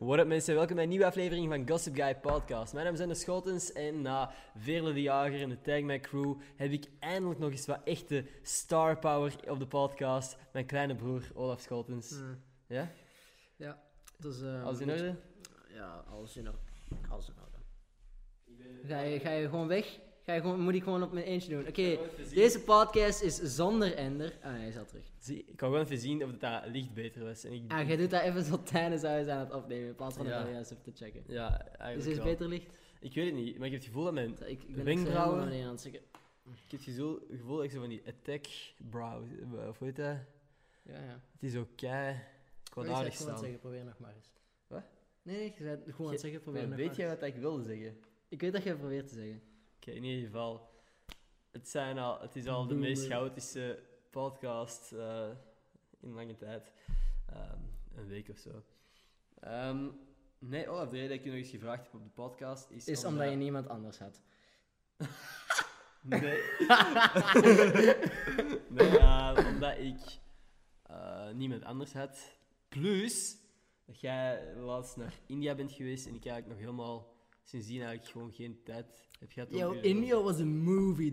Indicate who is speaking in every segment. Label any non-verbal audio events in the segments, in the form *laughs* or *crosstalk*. Speaker 1: What up mensen, welkom bij een nieuwe aflevering van Gossip Guy Podcast. Mijn naam is Anne Schotens en na Veerle de Jager en de Tag My Crew heb ik eindelijk nog eens wat echte star power op de podcast. Mijn kleine broer Olaf Schotens.
Speaker 2: Mm,
Speaker 1: Ja?
Speaker 2: Ja, dus... eh,
Speaker 1: Alles in orde?
Speaker 2: Ja, alles in orde. Alles in orde. Ga je, ga je gewoon weg? Ga je gewoon, moet ik gewoon op mijn eentje doen? Oké, deze podcast is zonder Ender. Ah, hij is al terug.
Speaker 1: Zie, ik kan gewoon even zien of dat licht beter was. En ik,
Speaker 2: Ah, jij doet dat even zo tijdens hij is aan het opnemen, in plaats van het
Speaker 1: Ja.
Speaker 2: wel juist even te checken.
Speaker 1: ja,
Speaker 2: Dus
Speaker 1: eigenlijk
Speaker 2: is het
Speaker 1: wel.
Speaker 2: beter licht?
Speaker 1: Ik weet het niet, maar ik heb het gevoel dat mijn...
Speaker 2: Ik, ik ben
Speaker 1: Wenkbrauwen?
Speaker 2: Wenkbrauwen? aan het zeggen.
Speaker 1: Ik heb het gevoel, het gevoel dat ik zo van die attack brow, eh, of hoe heet dat?
Speaker 2: Ja, ja.
Speaker 1: Het is ook kei
Speaker 2: Gewoon aan
Speaker 1: kwaadaardig
Speaker 2: het
Speaker 1: staan.
Speaker 2: zeggen, probeer nog maar eens.
Speaker 1: Wat?
Speaker 2: Nee, nee, je bent gewoon aan
Speaker 1: Je-
Speaker 2: het zeggen, probeer
Speaker 1: Maar
Speaker 2: nog
Speaker 1: Weet
Speaker 2: maar
Speaker 1: jij
Speaker 2: eens.
Speaker 1: wat ik wilde zeggen?
Speaker 2: Ik weet dat jij probeert te zeggen.
Speaker 1: Oké, in ieder geval. Het, zijn al, het is al de meest
Speaker 2: Boomer.
Speaker 1: chaotische podcast eh, in lange tijd. Ehm, een week of zo. Ehm, nee, Olaf, de reden dat ik je nog eens gevraagd heb op de podcast is...
Speaker 2: Is omdat je niemand anders had. *laughs*
Speaker 1: Nee. *laughs* nee, eh, omdat ik eh, niemand anders had. Plus, dat jij laatst naar India bent geweest en ik eigenlijk nog helemaal sindsdien eigenlijk gewoon geen tijd heb gehad. om
Speaker 2: Yo,
Speaker 1: u-
Speaker 2: India was een movie,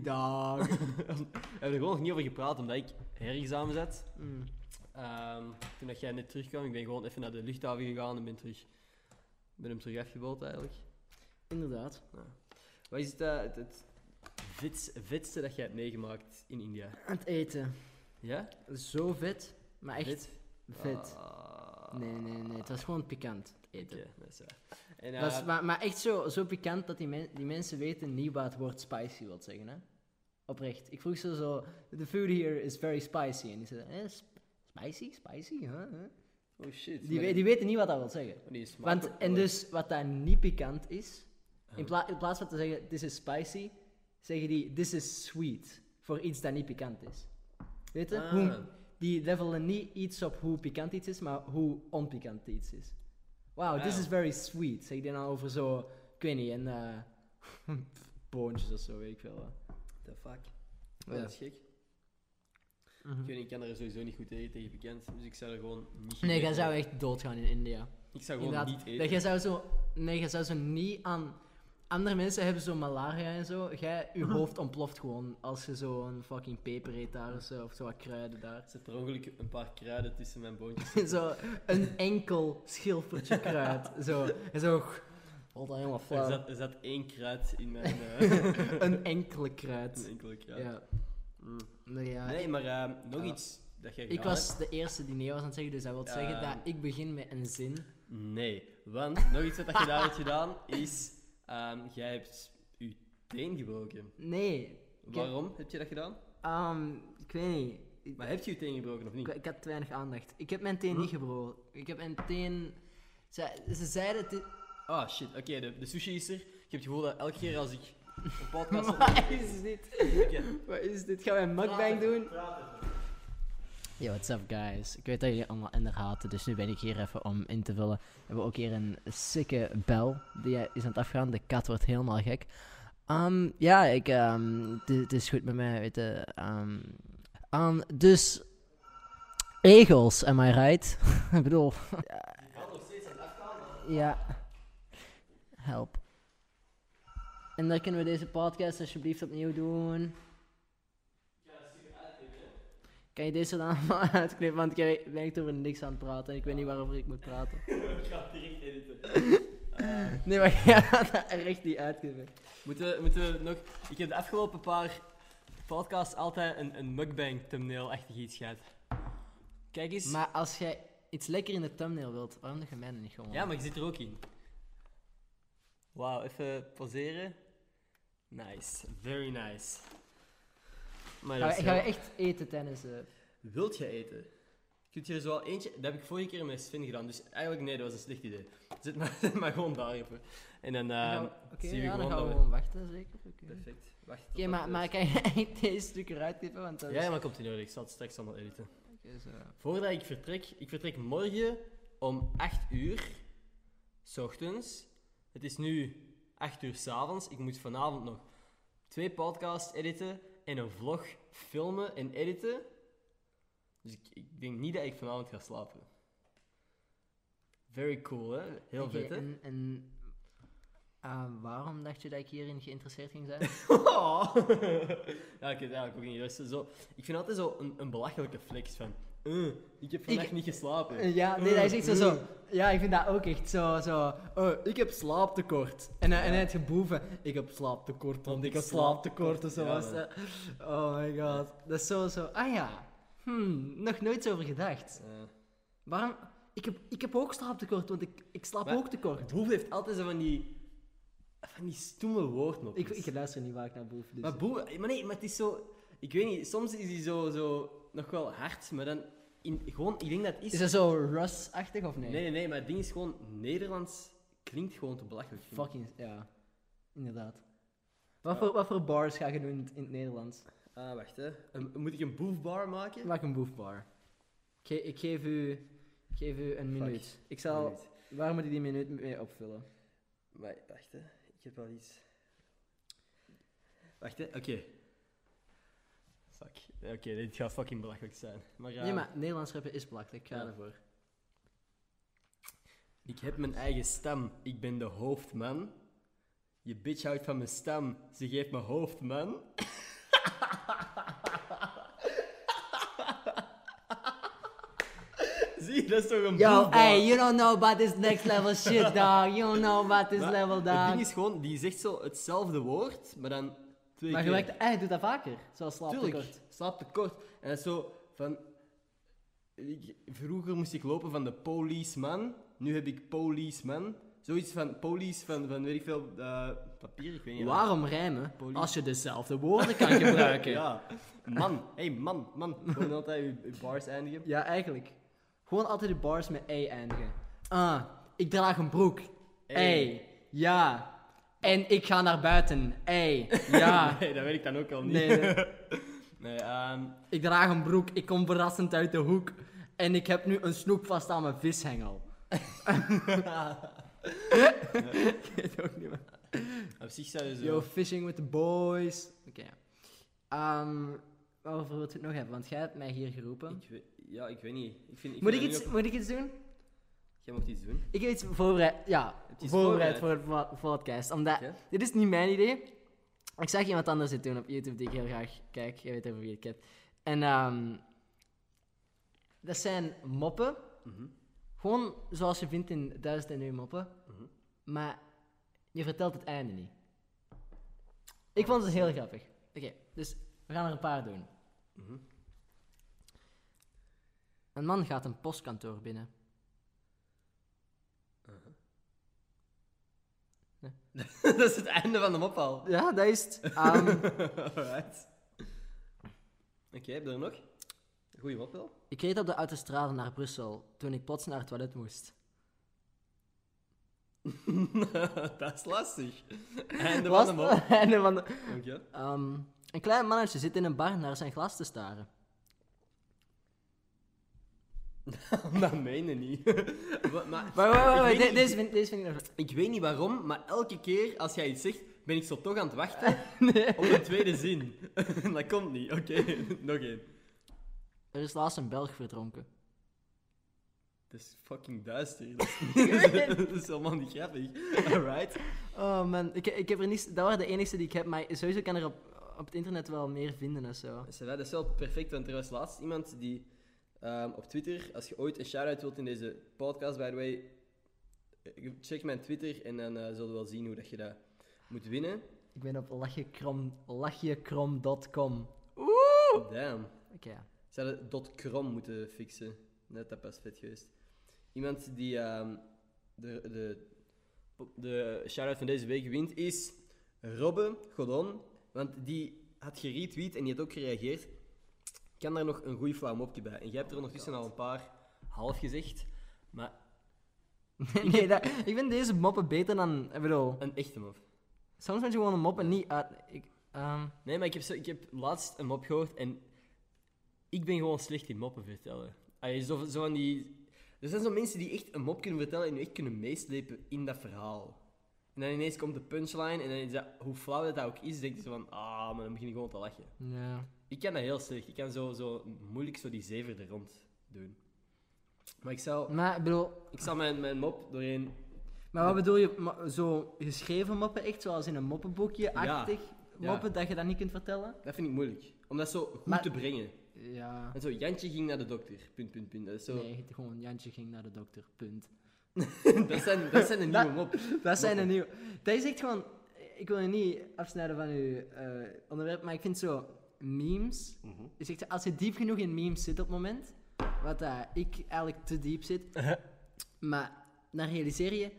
Speaker 1: *laughs*
Speaker 2: dog.
Speaker 1: We hebben er gewoon nog niet over gepraat, omdat ik herexamen zat.
Speaker 2: Mm.
Speaker 1: Ehm, toen dat jij net terugkwam, ik ben gewoon even naar de luchthaven gegaan en ben, terug, ben hem terug afgebold eigenlijk.
Speaker 2: Inderdaad.
Speaker 1: Wat is het, eh, het, het vets- vetste dat jij hebt meegemaakt in India?
Speaker 2: Aan het eten.
Speaker 1: Ja?
Speaker 2: Zo vet, maar echt
Speaker 1: Vet?
Speaker 2: vet.
Speaker 1: Ah,
Speaker 2: Nee, nee, nee. Het was gewoon pikant eten.
Speaker 1: oké, dat is waar. En, eh,
Speaker 2: Het was, maar, maar echt zo, zo pikant dat die, men- die mensen weten niet wat het woord spicy wil zeggen. Hè? Oprecht. Ik vroeg ze zo: The food here is very spicy. En die zeiden: eh, sp- Spicy, spicy, huh? huh?"
Speaker 1: oh shit.
Speaker 2: Die, we- die weten niet wat dat wil zeggen. Want, en dus wat daar niet pikant is, in, pla- in plaats van te zeggen: This is spicy, zeggen die: This is sweet. Voor iets dat niet pikant is. Weet je?
Speaker 1: Ah.
Speaker 2: Hoe, die levelen niet iets op hoe pikant iets is, maar hoe onpikant iets is. Wow, this
Speaker 1: Wauw.
Speaker 2: is very sweet. Zeg je dan over zo, ik weet niet, een eh, *laughs* boontjes of zo, weet ik veel. wat.
Speaker 1: The fuck.
Speaker 2: Ja. Mhm.
Speaker 1: Dat is gek. Ik weet niet, ik kan er sowieso niet goed tegen, tegen bekend, dus ik zou er gewoon niet
Speaker 2: Nee, jij
Speaker 1: gegeten
Speaker 2: zou
Speaker 1: hebben.
Speaker 2: echt doodgaan in India.
Speaker 1: Ik zou gewoon
Speaker 2: Inderdaad.
Speaker 1: niet eten.
Speaker 2: Dat jij zou zo, nee, jij zou zo niet aan... Andere mensen hebben zo malaria en zo. Jij, je hoofd ontploft gewoon als je zo een fucking peper eet daar of zo, of zo wat kruiden daar. *laughs*
Speaker 1: Er zit per ongeluk een paar kruiden tussen mijn boontjes.
Speaker 2: zo een enkel schilfertje kruid. Zo, en zo... Wat dan helemaal
Speaker 1: Er
Speaker 2: flauw.
Speaker 1: zat, er zat één kruid in mijn eh,
Speaker 2: *laughs*
Speaker 1: *laughs*
Speaker 2: Een enkele
Speaker 1: een
Speaker 2: kruid.
Speaker 1: enkele kruid.
Speaker 2: Ja. Nee, ja.
Speaker 1: Nee, maar eh, nog
Speaker 2: Ja.
Speaker 1: iets dat jij
Speaker 2: Ik
Speaker 1: gedaan
Speaker 2: was
Speaker 1: hebt.
Speaker 2: de eerste die nee was aan het zeggen, dus dat wil zeggen dat
Speaker 1: Ehm.
Speaker 2: ik begin met een zin.
Speaker 1: Nee, want nog iets wat dat je daar hebt gedaan is... ehm, jij hebt je teen gebroken.
Speaker 2: Nee. Ik, heb-
Speaker 1: Waarom heb je dat gedaan?
Speaker 2: Ehm, ik weet niet. Ik,
Speaker 1: Maar heb je je teen gebroken of niet?
Speaker 2: ik, ik had te weinig aandacht. Ik heb mijn teen niet gebroken. Ik heb mijn teen... Ze, ze zeiden... het i-
Speaker 1: Ah, shit. Oké, de, de sushi is er. Ik heb het gevoel dat elke keer als
Speaker 2: *laughs*
Speaker 1: ik een podcast...
Speaker 2: Wat is dit?
Speaker 1: Oké.
Speaker 2: Wat is dit? Gaan wij een mukbang doen? Yo, what's up guys? Ik weet dat jullie allemaal Ender haten, dus nu ben ik hier even om in te vullen. We hebben ook hier een sikke bel die eh, is aan het afgaan. De kat wordt helemaal gek. Ehm, ja, ik, ehm, het is- het is goed met mij, weet je. Ehm, ehm, dus, egels, am I right? *laughs* ik bedoel... ja. Help. En dan kunnen we deze podcast alsjeblieft opnieuw doen. Kan je deze dan *laughs* allemaal uitknippen? Want ik ben echt over niks aan het praten. en Ik weet niet waarover ik moet praten.
Speaker 1: *laughs* Ik ga het direct editen.
Speaker 2: *laughs* Nee, maar *laughs* jij gaat dat echt niet uitknippen.
Speaker 1: Moeten we, moeten we nog... Ik heb de afgelopen paar podcasts altijd een, een mukbang thumbnail-achtig iets gehad. Kijk eens.
Speaker 2: Maar als jij iets lekker in de thumbnail wilt, waarom doe je mij dan niet gewoon?
Speaker 1: Ja, maar je zit er ook in. Wauw, even pauzeren. Nice. Very nice. Maar dat
Speaker 2: Gaan we,
Speaker 1: is
Speaker 2: gaan we
Speaker 1: wel- Ehm,
Speaker 2: echt eten tijdens... eh,
Speaker 1: Wilt je eten? Kunt je er zo al *laughs* eentje... Dat heb ik vorige keer met Sven gedaan, dus eigenlijk nee, dat was een slecht idee. Zet maar, zet maar gewoon daar even. En dan eh,
Speaker 2: Dan gaan we- Nou, Oké,
Speaker 1: zien we
Speaker 2: ja,
Speaker 1: gewoon
Speaker 2: dan gaan we
Speaker 1: dat we...
Speaker 2: gewoon wachten, zeker. Oké,
Speaker 1: Perfect. Wacht tot
Speaker 2: Oké,
Speaker 1: dat
Speaker 2: maar,
Speaker 1: dus-
Speaker 2: maar kan je *laughs* echt deze stuk eruit knippen? Want dat
Speaker 1: Ja,
Speaker 2: is-
Speaker 1: ja, maar komt in orde. Ik zal het straks allemaal editen.
Speaker 2: Oké, zo.
Speaker 1: Voordat ik vertrek, ik vertrek morgen om 8 uur, s ochtends. Het is nu 8 uur s avonds. Ik moet vanavond nog twee podcasts editen en een vlog filmen en editen. Dus ik, ik denk niet dat ik vanavond ga slapen. Very cool, hè? Heel
Speaker 2: Oké, mm.
Speaker 1: vet, hè? *laughs*
Speaker 2: En, en ah, waarom dacht je dat ik hierin geïnteresseerd ging zijn?
Speaker 1: Oh. ja, ik weet het eigenlijk ook niet. Dat is zo, ik vind altijd zo een, een belachelijke flex van... eh, ik heb vannacht
Speaker 2: Ik-
Speaker 1: niet geslapen.
Speaker 2: ja, nee,
Speaker 1: Eh,
Speaker 2: dat is echt zo,
Speaker 1: eh.
Speaker 2: zo. Ja, ik vind dat ook echt zo. zo oh, ik heb slaaptekort. En, eh, en
Speaker 1: Ja.
Speaker 2: het geboeven. Ik heb slaaptekort, want ik heb slaaptekort. Of zo
Speaker 1: Ja,
Speaker 2: was dat. Oh my god. Dat is zo, zo. Ah ja. Hmm, nog nooit zo over gedacht.
Speaker 1: Eh.
Speaker 2: Waarom? Ik heb, ik heb ook slaaptekort, want ik, ik slaap
Speaker 1: Maar-
Speaker 2: ook tekort.
Speaker 1: Boef heeft altijd zo van die, van die stomme
Speaker 2: Ik,
Speaker 1: woordmopjes.
Speaker 2: ik luister niet vaak naar boeven. Dus.
Speaker 1: Maar Boef, maar nee, maar het is zo... Ik weet niet, soms is hij zo, zo nog wel hard, maar dan... In, gewoon, ik denk dat het is...
Speaker 2: is dat zo Russ-achtig of
Speaker 1: Nee, nee, nee, maar het ding is gewoon... Nederlands klinkt gewoon te belachelijk. vind ik.
Speaker 2: Fucking, ja. Inderdaad. Wat, Voor, wat voor bars ga je doen in het, in het Nederlands?
Speaker 1: Ah, wacht, hè. Een- moet ik een boefbar maken?
Speaker 2: Maak een boefbar. Ik, ge- ik, geef u, ik geef u een
Speaker 1: Fuck.
Speaker 2: minuut. Ik zal...
Speaker 1: Minuut.
Speaker 2: Waar moet ik die minuut mee opvullen?
Speaker 1: Maar wacht, hè. Ik heb wel iets... Wacht, hè. Oké. Fuck. Oké, dit gaat fucking belachelijk zijn. Maar, eh, ja.
Speaker 2: Nee, maar Nederlands rappen is belachelijk. Ik ga
Speaker 1: Ja.
Speaker 2: ervoor.
Speaker 1: Ik heb mijn eigen stem, ik ben de hoofdman. Je bitch houdt van mijn stem, ze geeft me hoofdman. *laughs* Zie, dat is toch een
Speaker 2: Yo,
Speaker 1: boelbal.
Speaker 2: hey, you don't know about this next level
Speaker 1: *laughs*
Speaker 2: shit, dog. You don't know about this
Speaker 1: Maar
Speaker 2: level,
Speaker 1: Het ding
Speaker 2: dog.
Speaker 1: is gewoon, die zegt zo hetzelfde woord, maar dan twee
Speaker 2: Maar je
Speaker 1: keer.
Speaker 2: werkt... Hey, doe dat vaker. Zoals
Speaker 1: Tuurlijk,
Speaker 2: slaaptekort.
Speaker 1: slaap tekort. En dat is zo van... ik- vroeger moest ik lopen van de policeman, nu heb ik policeman. Zoiets van police, van, van weet ik veel, eh, papier, ik weet niet.
Speaker 2: Waarom rijmen
Speaker 1: Police.
Speaker 2: als je dezelfde woorden kan *laughs* gebruiken?
Speaker 1: Ja. Man, hey man, man. Gewoon altijd je, je bars *laughs* eindigen.
Speaker 2: Ja, eigenlijk. Gewoon altijd de bars met E eindigen. Ah, ik draag een broek.
Speaker 1: Ey.
Speaker 2: Ey. Ja. En ik ga naar buiten. Ey. Ja.
Speaker 1: *laughs* Nee, dat weet ik dan ook al niet.
Speaker 2: Nee, nee.
Speaker 1: Nee, ehm,
Speaker 2: Ik draag een broek. Ik kom verrassend uit de hoek. En ik heb nu een snoep vast aan mijn vishengel. ik weet ook niet meer.
Speaker 1: op zich zou je zo...
Speaker 2: Yo, fishing with the boys. Oké. Ehm, waarover wilt u het nog hebben? Want jij hebt mij hier geroepen.
Speaker 1: Ik weet- ja, ik weet niet. Ik vind, ik
Speaker 2: Moet ik,
Speaker 1: vind dat
Speaker 2: iets,
Speaker 1: nu ook-
Speaker 2: moet ik iets doen?
Speaker 1: Jij mocht iets doen.
Speaker 2: Ik heb iets voorbereid. Ja,
Speaker 1: je iets
Speaker 2: voorbereid voor het po- podcast. Omdat
Speaker 1: Oké.
Speaker 2: dit is niet mijn idee. Ik zag iemand anders dit doen op YouTube die ik heel graag kijk. Je weet over wie ik heb. En ehm, dat zijn moppen. Gewoon zoals je vindt in Duizend en Eén Moppen. Maar je vertelt het einde niet. Ik vond het heel grappig. Oké, dus we gaan er een paar doen. Mhm. Een man gaat een postkantoor binnen.
Speaker 1: *laughs* dat is het einde van de mop al.
Speaker 2: Ja, dat is het. *laughs* Ehm,
Speaker 1: Alright. Oké, heb je er nog? Goeie mop wel.
Speaker 2: Ik reed op de autostrade naar Brussel toen ik plots naar het toilet moest.
Speaker 1: *laughs* dat is lastig. Einde
Speaker 2: Was-
Speaker 1: van de mop.
Speaker 2: Einde van *laughs* de-
Speaker 1: Dank je.
Speaker 2: Ehm, een klein mannetje zit in een bar naar zijn glas te staren.
Speaker 1: dat meen je niet. *laughs* Wa- maar,
Speaker 2: Wacht, wacht, wacht,
Speaker 1: ik
Speaker 2: wacht,
Speaker 1: weet
Speaker 2: de-
Speaker 1: niet-
Speaker 2: deze, vind, deze vind ik nog...
Speaker 1: Ik weet niet waarom, maar elke keer als jij iets zegt, ben ik zo toch aan het wachten op een tweede zin. *laughs* dat komt niet. Oké, *laughs* nog één.
Speaker 2: Er is laatst een Belg verdronken.
Speaker 1: Het is fucking duister. *laughs* Dat is, dat is helemaal niet grappig. Alright.
Speaker 2: Oh man, ik, ik heb er niet... Dat waren de enigste die ik heb, maar sowieso kan er op, op het internet wel meer vinden en zo.
Speaker 1: Dus ja, Dat is wel perfect, want er was laatst iemand die ehm, op Twitter, als je ooit een shout-out wilt in deze podcast, by the way, eh, check mijn Twitter en dan eh, zullen we wel zien hoe dat je dat moet winnen.
Speaker 2: Ik ben op lachjekrom... lachjekrom.com.
Speaker 1: Damn.
Speaker 2: Oké,
Speaker 1: Ze hadden dot .crom moeten fixen. Net dat pas vet geweest. Iemand die ehm, de, de, de shout-out van deze week wint is Robbe Godon. Want die had geretweet en die had ook gereageerd. Kan daar nog een goede flauw mopje bij? En jij hebt er ondertussen al een paar half gezegd. Maar
Speaker 2: *laughs* nee, dat- ik vind deze moppen beter dan. Ik bedoel,
Speaker 1: Een echte mop.
Speaker 2: soms moet je gewoon een mop en niet uit. Ik, ehm,
Speaker 1: Nee, maar ik heb, zo, ik heb laatst een mop gehoord en ik ben gewoon slecht in moppen vertellen. Allee, zo, zo van die... Er zijn zo mensen die echt een mop kunnen vertellen en je echt kunnen meeslepen in dat verhaal. En dan ineens komt de punchline en dan is dat, hoe flauw dat, dat ook is, denk je zo van, ah, maar dan begin je gewoon te lachen.
Speaker 2: ja.
Speaker 1: Ik kan dat heel slecht. Ik kan zo, zo moeilijk zo die zever er rond doen. Maar ik zal,
Speaker 2: Maar ik bedoel,
Speaker 1: ik zal mijn, mijn mop doorheen...
Speaker 2: maar wat bedoel je? mo- Zo geschreven moppen, echt zoals in een moppenboekje-achtig
Speaker 1: ja.
Speaker 2: moppen dat je dat niet kunt vertellen?
Speaker 1: Dat vind ik moeilijk. Om dat zo goed
Speaker 2: Maar-
Speaker 1: te brengen.
Speaker 2: Ja.
Speaker 1: En zo, Jantje ging naar de dokter. Punt, punt, punt. Dat is zo...
Speaker 2: Nee, gewoon Jantje ging naar de dokter, punt.
Speaker 1: *laughs* dat, zijn, dat zijn een nieuwe
Speaker 2: Dat-
Speaker 1: mop.
Speaker 2: Dat zijn een nieuw. Dat is echt gewoon. Ik wil je niet afsnijden van uw eh, onderwerp, maar ik vind zo memes.
Speaker 1: Mhm.
Speaker 2: Dus ik zeg, als je diep genoeg in memes zit op het moment, wat dat ik eigenlijk te diep zit,
Speaker 1: Uh-huh.
Speaker 2: maar dan realiseer je,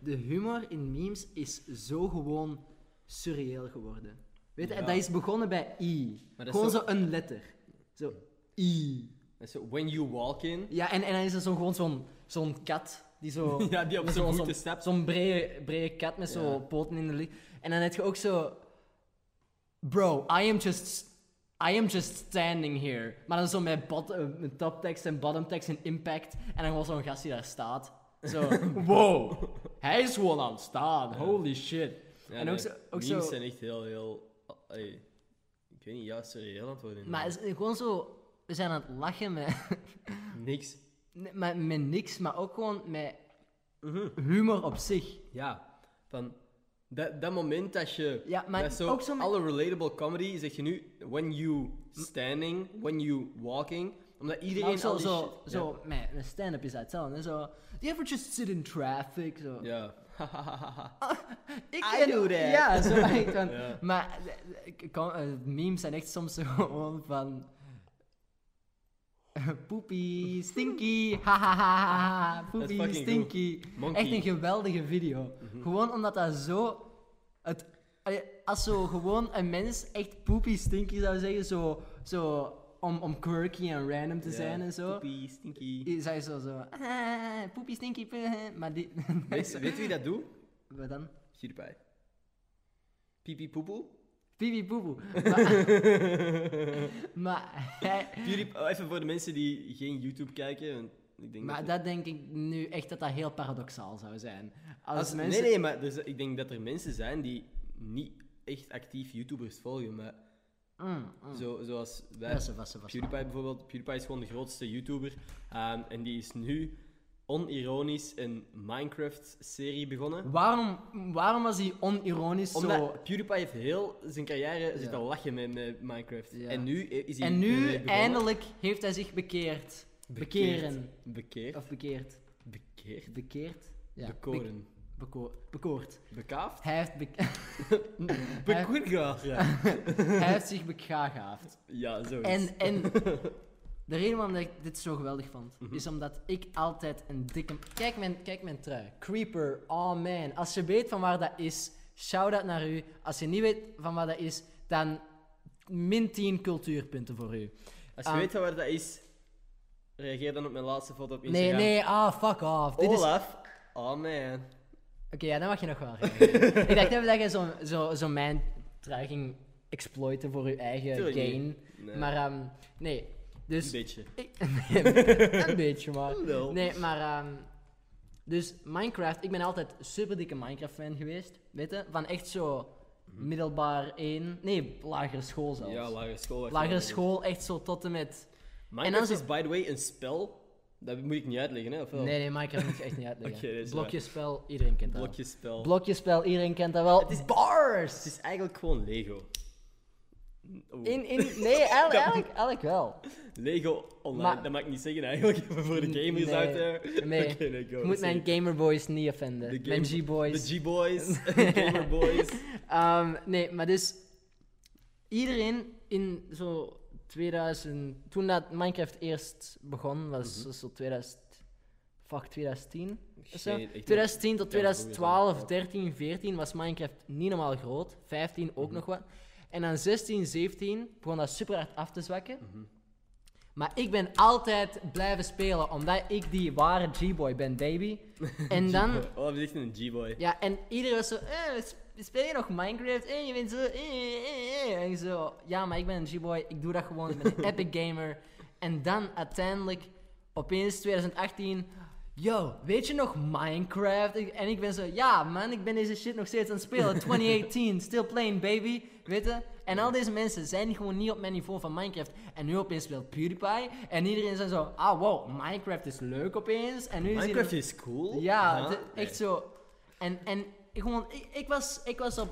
Speaker 2: de humor in memes is zo gewoon surreëel geworden. Weet je,
Speaker 1: Ja.
Speaker 2: dat is begonnen bij I.
Speaker 1: Maar dat is
Speaker 2: Gewoon
Speaker 1: zo-
Speaker 2: zo een letter. Zo I.
Speaker 1: Dat is zo, when you walk in.
Speaker 2: Ja, en, en dan is er zo gewoon zo'n zo'n kat die zo.
Speaker 1: *laughs* Ja, die op
Speaker 2: met
Speaker 1: zijn
Speaker 2: zo-
Speaker 1: voeten
Speaker 2: zo'n-
Speaker 1: stapt.
Speaker 2: Zo'n brede, brede kat met
Speaker 1: Ja.
Speaker 2: zo poten in de lucht. En dan heb je ook zo. Bro, I am just. I am just standing here. Maar dan zo met, bot, eh, met toptekst en bottomtekst en impact. En dan gewoon zo'n gast die daar staat. Zo, wow, hij is gewoon aan het staan. Holy shit.
Speaker 1: Ja,
Speaker 2: en
Speaker 1: nee,
Speaker 2: ook zo. Ook
Speaker 1: memes
Speaker 2: zo
Speaker 1: zijn echt heel, heel... allee, ik weet niet, ja, surreal aan het worden.
Speaker 2: maar het is gewoon zo. We zijn aan het lachen met.
Speaker 1: Niks.
Speaker 2: Nee, maar met niks, maar ook gewoon met humor op zich.
Speaker 1: Ja, van... Dat, dat moment dat je...
Speaker 2: Ja, maar
Speaker 1: dat is zo,
Speaker 2: ook zo met-
Speaker 1: Alle relatable comedy zeg je nu... When you standing, when you walking. Omdat
Speaker 2: Maar
Speaker 1: iedereen
Speaker 2: ook zo,
Speaker 1: al die
Speaker 2: zo,
Speaker 1: shit-
Speaker 2: zo met een stand-up is dat hetzelfde. hè, Zo, do you ever just sit in traffic? Zo.
Speaker 1: Ja.
Speaker 2: Ik
Speaker 1: I
Speaker 2: en-
Speaker 1: do that. *laughs*
Speaker 2: Ja, zo echt van.
Speaker 1: Ja.
Speaker 2: Maar eh, ik kan, eh, memes zijn echt soms *laughs* zo gewoon van... eh, Poepie,
Speaker 1: *laughs*
Speaker 2: stinky, hahaha,
Speaker 1: Dat
Speaker 2: poepie,
Speaker 1: is fucking goed.
Speaker 2: stinky.
Speaker 1: Monkey. Mhm.
Speaker 2: Echt een geweldige video. Gewoon omdat dat zo... Het, allee, als zo gewoon een mens echt poepie, stinky zou zeggen, zo... zo om, om quirky en random te
Speaker 1: Ja.
Speaker 2: *laughs* zijn en zo.
Speaker 1: Poepie, stinky.
Speaker 2: Je zei zo zo, "Ah, poepie stinky, puh." maar die... *laughs*
Speaker 1: Weet weet je wie dat doet?
Speaker 2: Wat dan?
Speaker 1: Hierbij. Pipi poepoe.
Speaker 2: Pipi
Speaker 1: *laughs*
Speaker 2: poepoe. Maar, maar, *laughs* hij-
Speaker 1: Jullie, oh, even voor de mensen die geen YouTube kijken. want Ik denk
Speaker 2: maar
Speaker 1: dat,
Speaker 2: dat denk ik nu echt dat dat heel paradoxaal zou zijn. Als,
Speaker 1: als
Speaker 2: mensen...
Speaker 1: Nee, nee, maar dus, ik denk dat er mensen zijn die niet echt actief YouTubers volgen. Maar
Speaker 2: Mm, mm.
Speaker 1: zo, zoals wij.
Speaker 2: Wassen, wassen, wassen.
Speaker 1: PewDiePie bijvoorbeeld. PewDiePie is gewoon de grootste YouTuber. ehm, en die is nu onironisch een Minecraft-serie begonnen.
Speaker 2: Waarom, waarom was hij onironisch
Speaker 1: Omdat
Speaker 2: zo...
Speaker 1: PewDiePie heeft heel zijn carrière zitten lachen met, met Minecraft.
Speaker 2: Ja.
Speaker 1: En nu is hij
Speaker 2: En
Speaker 1: ermee
Speaker 2: nu,
Speaker 1: begonnen.
Speaker 2: eindelijk, heeft hij zich bekeerd. Bekeren.
Speaker 1: Bekeerd.
Speaker 2: Of bekeerd.
Speaker 1: Bekeerd.
Speaker 2: Bekeerd? Ja. Bek-
Speaker 1: Bekoren.
Speaker 2: beko- bekoord.
Speaker 1: Bekaafd?
Speaker 2: Hij heeft, bek- *laughs*
Speaker 1: Bekoergaard.
Speaker 2: hij heeft zich begaafd.
Speaker 1: Ja, zo *laughs*
Speaker 2: En, en de reden waarom dat ik dit zo geweldig vond,
Speaker 1: Mhm.
Speaker 2: is omdat ik altijd een dikke... Kijk mijn, kijk mijn trui. Creeper, oh man. Als je weet van waar dat is, shout-out naar u. Als je niet weet van waar dat is, dan min 10 cultuurpunten voor u.
Speaker 1: Als je
Speaker 2: Ah.
Speaker 1: weet waar dat is, reageer dan op mijn laatste foto op
Speaker 2: Nee,
Speaker 1: Instagram.
Speaker 2: nee, ah, fuck off. Dit is... Oké,
Speaker 1: Olaf. Oh man.
Speaker 2: ja, dan mag je nog
Speaker 1: *laughs*
Speaker 2: wel. reageren. ik dacht even dat je zo'n zo, zo mijn trui ging exploiten voor je eigen
Speaker 1: Tuurlijk niet.
Speaker 2: gain.
Speaker 1: Nee.
Speaker 2: Maar ehm, nee,
Speaker 1: Een
Speaker 2: dus...
Speaker 1: beetje.
Speaker 2: Ik-
Speaker 1: *laughs*
Speaker 2: een beetje maar.
Speaker 1: Wel.
Speaker 2: Nee, maar. ehm, dus Minecraft, ik ben altijd super dikke Minecraft-fan geweest. Weet je? Van echt zo middelbaar 1. Nee, lagere school zelfs.
Speaker 1: Mhm. Ja, lagere school. was
Speaker 2: lagere
Speaker 1: wel-
Speaker 2: school, echt zo tot en met.
Speaker 1: Minecraft
Speaker 2: En dan
Speaker 1: is, by the way, een spel. Dat moet ik niet uitleggen, hè? Of wel?
Speaker 2: Nee, nee, Minecraft moet je echt niet uitleggen.
Speaker 1: *laughs* Oké, dat is waar.
Speaker 2: Blokjespel, iedereen kent dat. wel.
Speaker 1: Blokjespel.
Speaker 2: Blokjespel, iedereen kent dat wel. bars!
Speaker 1: Het is eigenlijk gewoon Lego. Oeh.
Speaker 2: In, in, nee,
Speaker 1: *laughs*
Speaker 2: eigenlijk, eigenlijk, eigenlijk wel.
Speaker 1: Lego online,
Speaker 2: Maar-
Speaker 1: dat mag ik niet zeggen eigenlijk, *laughs* even voor de gamers
Speaker 2: Nee.
Speaker 1: out there. *laughs*
Speaker 2: Nee.
Speaker 1: Oké, nee, go.
Speaker 2: Je moet mijn
Speaker 1: Sorry.
Speaker 2: gamerboys niet
Speaker 1: De
Speaker 2: offenden.
Speaker 1: game-
Speaker 2: Mijn G-boys.
Speaker 1: De G-boys, *laughs*
Speaker 2: *laughs*
Speaker 1: de gamerboys.
Speaker 2: Ehm, nee, maar dus iedereen in zo 2000, toen dat Minecraft eerst begon, was
Speaker 1: Mhm.
Speaker 2: zo 2000, fuck 2010. of zo.
Speaker 1: weet echt niet.
Speaker 2: 2010 tot
Speaker 1: Ja, dat is ook weer zo.
Speaker 2: 2012, 13, 14 was Minecraft niet normaal groot,
Speaker 1: Mhm. Mhm.
Speaker 2: 15 ook nog wat. En dan 16, 17 begon dat super hard af te zwakken. Maar ik ben altijd blijven spelen, omdat ik die ware G-boy ben,
Speaker 1: *laughs*
Speaker 2: baby. En dan...
Speaker 1: Oh, dat is echt een G-boy.
Speaker 2: Ja, en iedereen was zo... eh, sp- speel je nog Minecraft? Eh, je bent zo... eh, eh, eh." En ik zo... Ja, maar ik ben een G-boy. Ik doe dat gewoon. Ik ben een epic gamer. En dan uiteindelijk... Opeens 2018... Yo, weet je nog Minecraft? Ik- en ik ben zo... Ja, man. Ik ben deze shit nog steeds aan het spelen. 2018. Still playing, baby. Weet je? En al deze mensen zijn gewoon niet op mijn niveau van Minecraft. En nu opeens speelt PewDiePie. En iedereen is zo... Ah, wow. Minecraft is leuk opeens. En nu is iedereen-
Speaker 1: Minecraft is cool.
Speaker 2: ja,
Speaker 1: Huh?
Speaker 2: de- echt zo. En, en ik, gewoon, ik, ik was, ik, was op,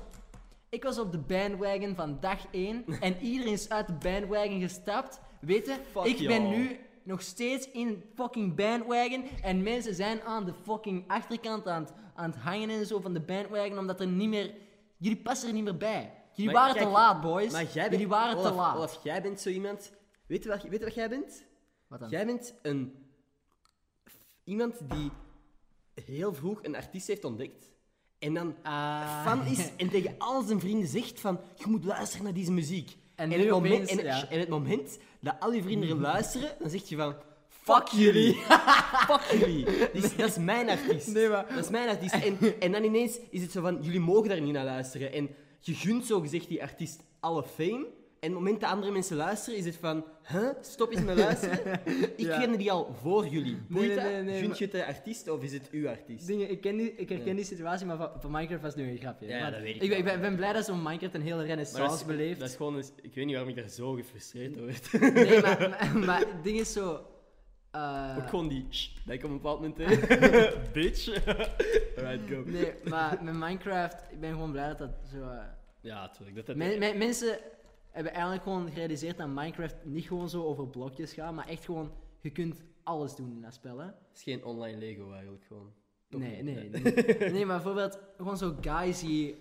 Speaker 2: ik was op de bandwagon van dag 1
Speaker 1: *laughs*
Speaker 2: en iedereen is uit de bandwagon gestapt. Weet je,
Speaker 1: Fuck
Speaker 2: ik ben
Speaker 1: y'all.
Speaker 2: nu nog steeds in fucking bandwagon en mensen zijn aan de fucking achterkant aan het, aan het hangen en zo van de bandwagon omdat er niet meer. Jullie passen er niet meer bij. Jullie
Speaker 1: Maar
Speaker 2: waren te
Speaker 1: kijk,
Speaker 2: laat, boys.
Speaker 1: Maar jij bent,
Speaker 2: jullie waren te
Speaker 1: Olaf,
Speaker 2: laat.
Speaker 1: Olaf, jij bent zo iemand. Weet je wat, weet je wat jij bent?
Speaker 2: Wat dan?
Speaker 1: Jij bent een. Iemand die heel vroeg een artiest heeft ontdekt. En dan
Speaker 2: Ah.
Speaker 1: fan
Speaker 2: *laughs*
Speaker 1: is en tegen al zijn vrienden zegt van... Je moet luisteren naar deze muziek.
Speaker 2: En
Speaker 1: in
Speaker 2: nu
Speaker 1: het moment,
Speaker 2: opeens,
Speaker 1: en,
Speaker 2: ja.
Speaker 1: en het moment dat al je
Speaker 2: *laughs*
Speaker 1: vrienden er luisteren, dan zeg je van... Fuck jullie! *laughs* Fuck jullie!
Speaker 2: *laughs*
Speaker 1: Die is- Dat is mijn artiest.
Speaker 2: Nee, maar-
Speaker 1: Dat is mijn
Speaker 2: *laughs*
Speaker 1: artiest. En, en dan ineens is het zo van... Jullie mogen daar niet naar luisteren. En je gunt zogezegd die artiest alle fame. En het moment dat andere mensen luisteren, is het van... Huh? Stop eens met
Speaker 2: *laughs*
Speaker 1: luisteren. Ik
Speaker 2: Ja.
Speaker 1: kende die al voor jullie. Boeit
Speaker 2: nee,
Speaker 1: dat?
Speaker 2: nee, nee,
Speaker 1: Gunt
Speaker 2: maar-
Speaker 1: je het de artiest of is het uw artiest?
Speaker 2: Dingen, ik, ken die, ik herken die situatie, maar van, van Minecraft was nu een grapje.
Speaker 1: Ja,
Speaker 2: Maar
Speaker 1: dat weet ik
Speaker 2: Ik, ben-
Speaker 1: wel.
Speaker 2: ben, ik ben blij dat zo'n Minecraft een hele
Speaker 1: Maar
Speaker 2: renaissance beleeft.
Speaker 1: Dat is gewoon... eens- Ik weet niet waarom ik daar zo gefrustreerd door werd.
Speaker 2: Nee, maar, maar, maar het ding is zo... eh,
Speaker 1: Ook *laughs* gewoon die "Sst", dat ik op een bepaald
Speaker 2: *laughs*
Speaker 1: moment deed. *laughs* Bitch. Alright, go.
Speaker 2: nee, maar met Minecraft, ik ben gewoon blij dat dat zo... eh,
Speaker 1: Ja, tuurlijk. Dat, dat,
Speaker 2: men- men- mensen hebben eigenlijk gewoon gerealiseerd dat Minecraft niet gewoon zo over blokjes gaat, maar echt gewoon, je kunt alles doen in dat spel, hè.
Speaker 1: is geen online Lego eigenlijk gewoon. Toch
Speaker 2: Nee,
Speaker 1: niet,
Speaker 2: nee, nee. Nee, maar bijvoorbeeld, gewoon zo guys die...